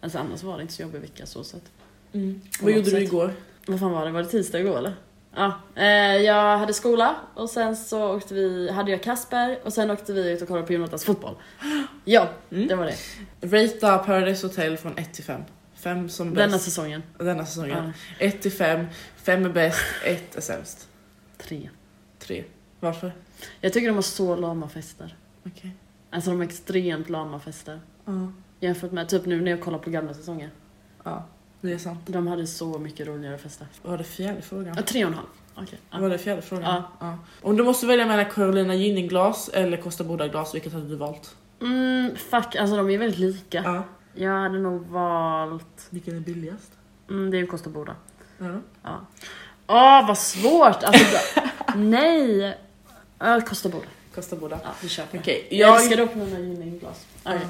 Speaker 1: Alltså annars var det inte så jobbig vecka så sett.
Speaker 2: Mm.
Speaker 1: På
Speaker 2: Vad gjorde
Speaker 1: något
Speaker 2: du
Speaker 1: sätt.
Speaker 2: igår?
Speaker 1: Vad fan var det? Var det tisdag igår eller? Ja, eh, jag hade skola och sen så åkte vi, hade jag Kasper och sen åkte vi ut och kollade på Jonathans fotboll. Ja,
Speaker 2: Mm.
Speaker 1: det var det.
Speaker 2: Rata Paradise Hotel från 1 till 5. 5 som bäst
Speaker 1: Denna
Speaker 2: denna,
Speaker 1: säsongen.
Speaker 2: säsongen.
Speaker 1: Ja,
Speaker 2: 1 till 5, 5 är bäst, 1 är sämst.
Speaker 1: tre.
Speaker 2: 3. Varför?
Speaker 1: Jag tycker de har så lama fester.
Speaker 2: Okej.
Speaker 1: Alltså de har extremt lama fester.
Speaker 2: Ja.
Speaker 1: Jämfört med typ nu när jag kollar på gamla säsonger.
Speaker 2: ja, det är sant.
Speaker 1: De hade så mycket roligare fester.
Speaker 2: Var det fjärde frågan?
Speaker 1: Ja, tre och en halv. Okej.
Speaker 2: Var
Speaker 1: Ja.
Speaker 2: det fjärde frågan?
Speaker 1: Ja.
Speaker 2: Om du måste välja mellan Carolina Gynning-glas eller Kosta Boda-glas, vilket hade du valt?
Speaker 1: Mm, fuck, alltså de är väldigt lika.
Speaker 2: Ja.
Speaker 1: Jag hade nog valt...
Speaker 2: Vilken är billigast?
Speaker 1: Mm, det är ju Kosta Boda.
Speaker 2: Ja.
Speaker 1: Ja. Åh, vad svårt! Alltså,
Speaker 2: <laughs>
Speaker 1: det- nej! Ja, Kosta Boda.
Speaker 2: Kosta Boda.
Speaker 1: Ja, vi kör på det.
Speaker 2: Okej,
Speaker 1: Jag,
Speaker 2: jag...
Speaker 1: älskar dock mina gynningglas.
Speaker 2: Ja.
Speaker 1: Okej.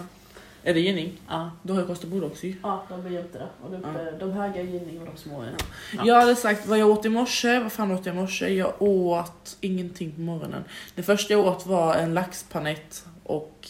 Speaker 2: Är det Gynning?
Speaker 1: Ja.
Speaker 2: Då har jag Kosta Boda också ju.
Speaker 1: ja, de är jämte där. Och de,
Speaker 2: Ja.
Speaker 1: de höga är gynning och de små är... Ja.
Speaker 2: Jag hade sagt vad jag åt i morse, vad fan åt jag i morse? Jag åt ingenting på morgonen. Det första jag åt var en laxpanett och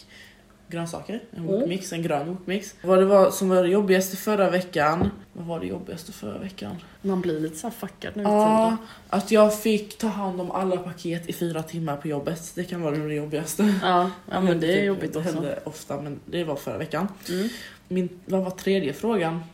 Speaker 2: grönsaker. En
Speaker 1: Mm.
Speaker 2: wokmix, en grön wokmix. Vad det var som var det jobbigaste förra veckan, vad var det jobbigaste förra veckan?
Speaker 1: Man blir lite så här fuckad nu i
Speaker 2: Ja,
Speaker 1: tiden.
Speaker 2: att jag fick ta hand om alla paket i fyra timmar på jobbet. Det kan vara det jobbigaste.
Speaker 1: Ja, ja, men det är
Speaker 2: Typ,
Speaker 1: jobbigt
Speaker 2: Det
Speaker 1: också.
Speaker 2: hände ofta, men det var förra veckan.
Speaker 1: Mm.
Speaker 2: Min, vad var tredje frågan?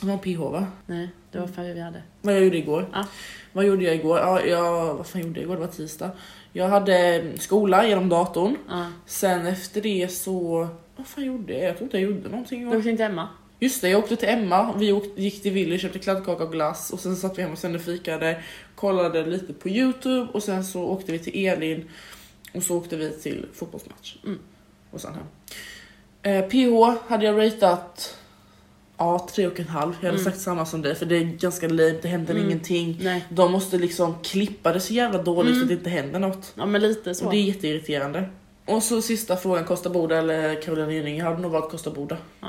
Speaker 2: Det var PH va?
Speaker 1: Nej, det var färger vi hade.
Speaker 2: Vad jag gjorde igår?
Speaker 1: Ja.
Speaker 2: Vad gjorde jag igår? Ja, jag, vad fan gjorde jag igår? Det var tisdag. Jag hade mm, skola genom datorn.
Speaker 1: Ja.
Speaker 2: Sen efter det så... Vad fan gjorde jag? Jag tror inte jag gjorde någonting.
Speaker 1: Du åkte inte hemma?
Speaker 2: Just det, jag åkte till Emma. Vi åkte, gick till Willys, köpte kladdkaka och glass. Och sen satt vi hemma och sände fikade. Kollade lite på Youtube. Och sen så åkte vi till Elin. Och så åkte vi till fotbollsmatch.
Speaker 1: Mm.
Speaker 2: Och sen hem. Eh, PH hade jag ratat... Ja, tre och en halv. Jag hade
Speaker 1: Mm.
Speaker 2: sagt samma som dig för det är ganska lame, det händer
Speaker 1: Mm.
Speaker 2: ingenting.
Speaker 1: Nej.
Speaker 2: De måste liksom klippa det så jävla dåligt
Speaker 1: Mm.
Speaker 2: så att det inte händer något.
Speaker 1: Ja, men lite
Speaker 2: Och
Speaker 1: så.
Speaker 2: det är jätteirriterande. Och så sista frågan, Kosta Boda eller Caroline Gynning? Jag hade nog valt Kosta Boda.
Speaker 1: Ja.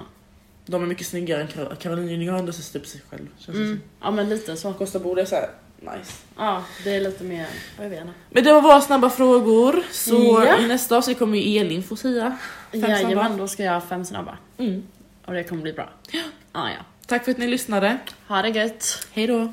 Speaker 2: De är mycket snyggare än Kar- Caroline Gynning har ändå sett upp sig själv. Känns det
Speaker 1: Mm. Ja, men lite så.
Speaker 2: som. Kosta Boda är såhär, nice.
Speaker 1: Ja, det är lite mer... Jag vet inte.
Speaker 2: Men det var våra snabba frågor. Så
Speaker 1: Ja.
Speaker 2: i nästa avsnitt kommer ju Elin få säga. Fem
Speaker 1: Jajamän,
Speaker 2: snabba.
Speaker 1: då ska jag ha fem snabba.
Speaker 2: Mm.
Speaker 1: Och det kommer bli bra. Ja, ja.
Speaker 2: Tack för att ni lyssnade.
Speaker 1: Ha det gött!
Speaker 2: Hej då.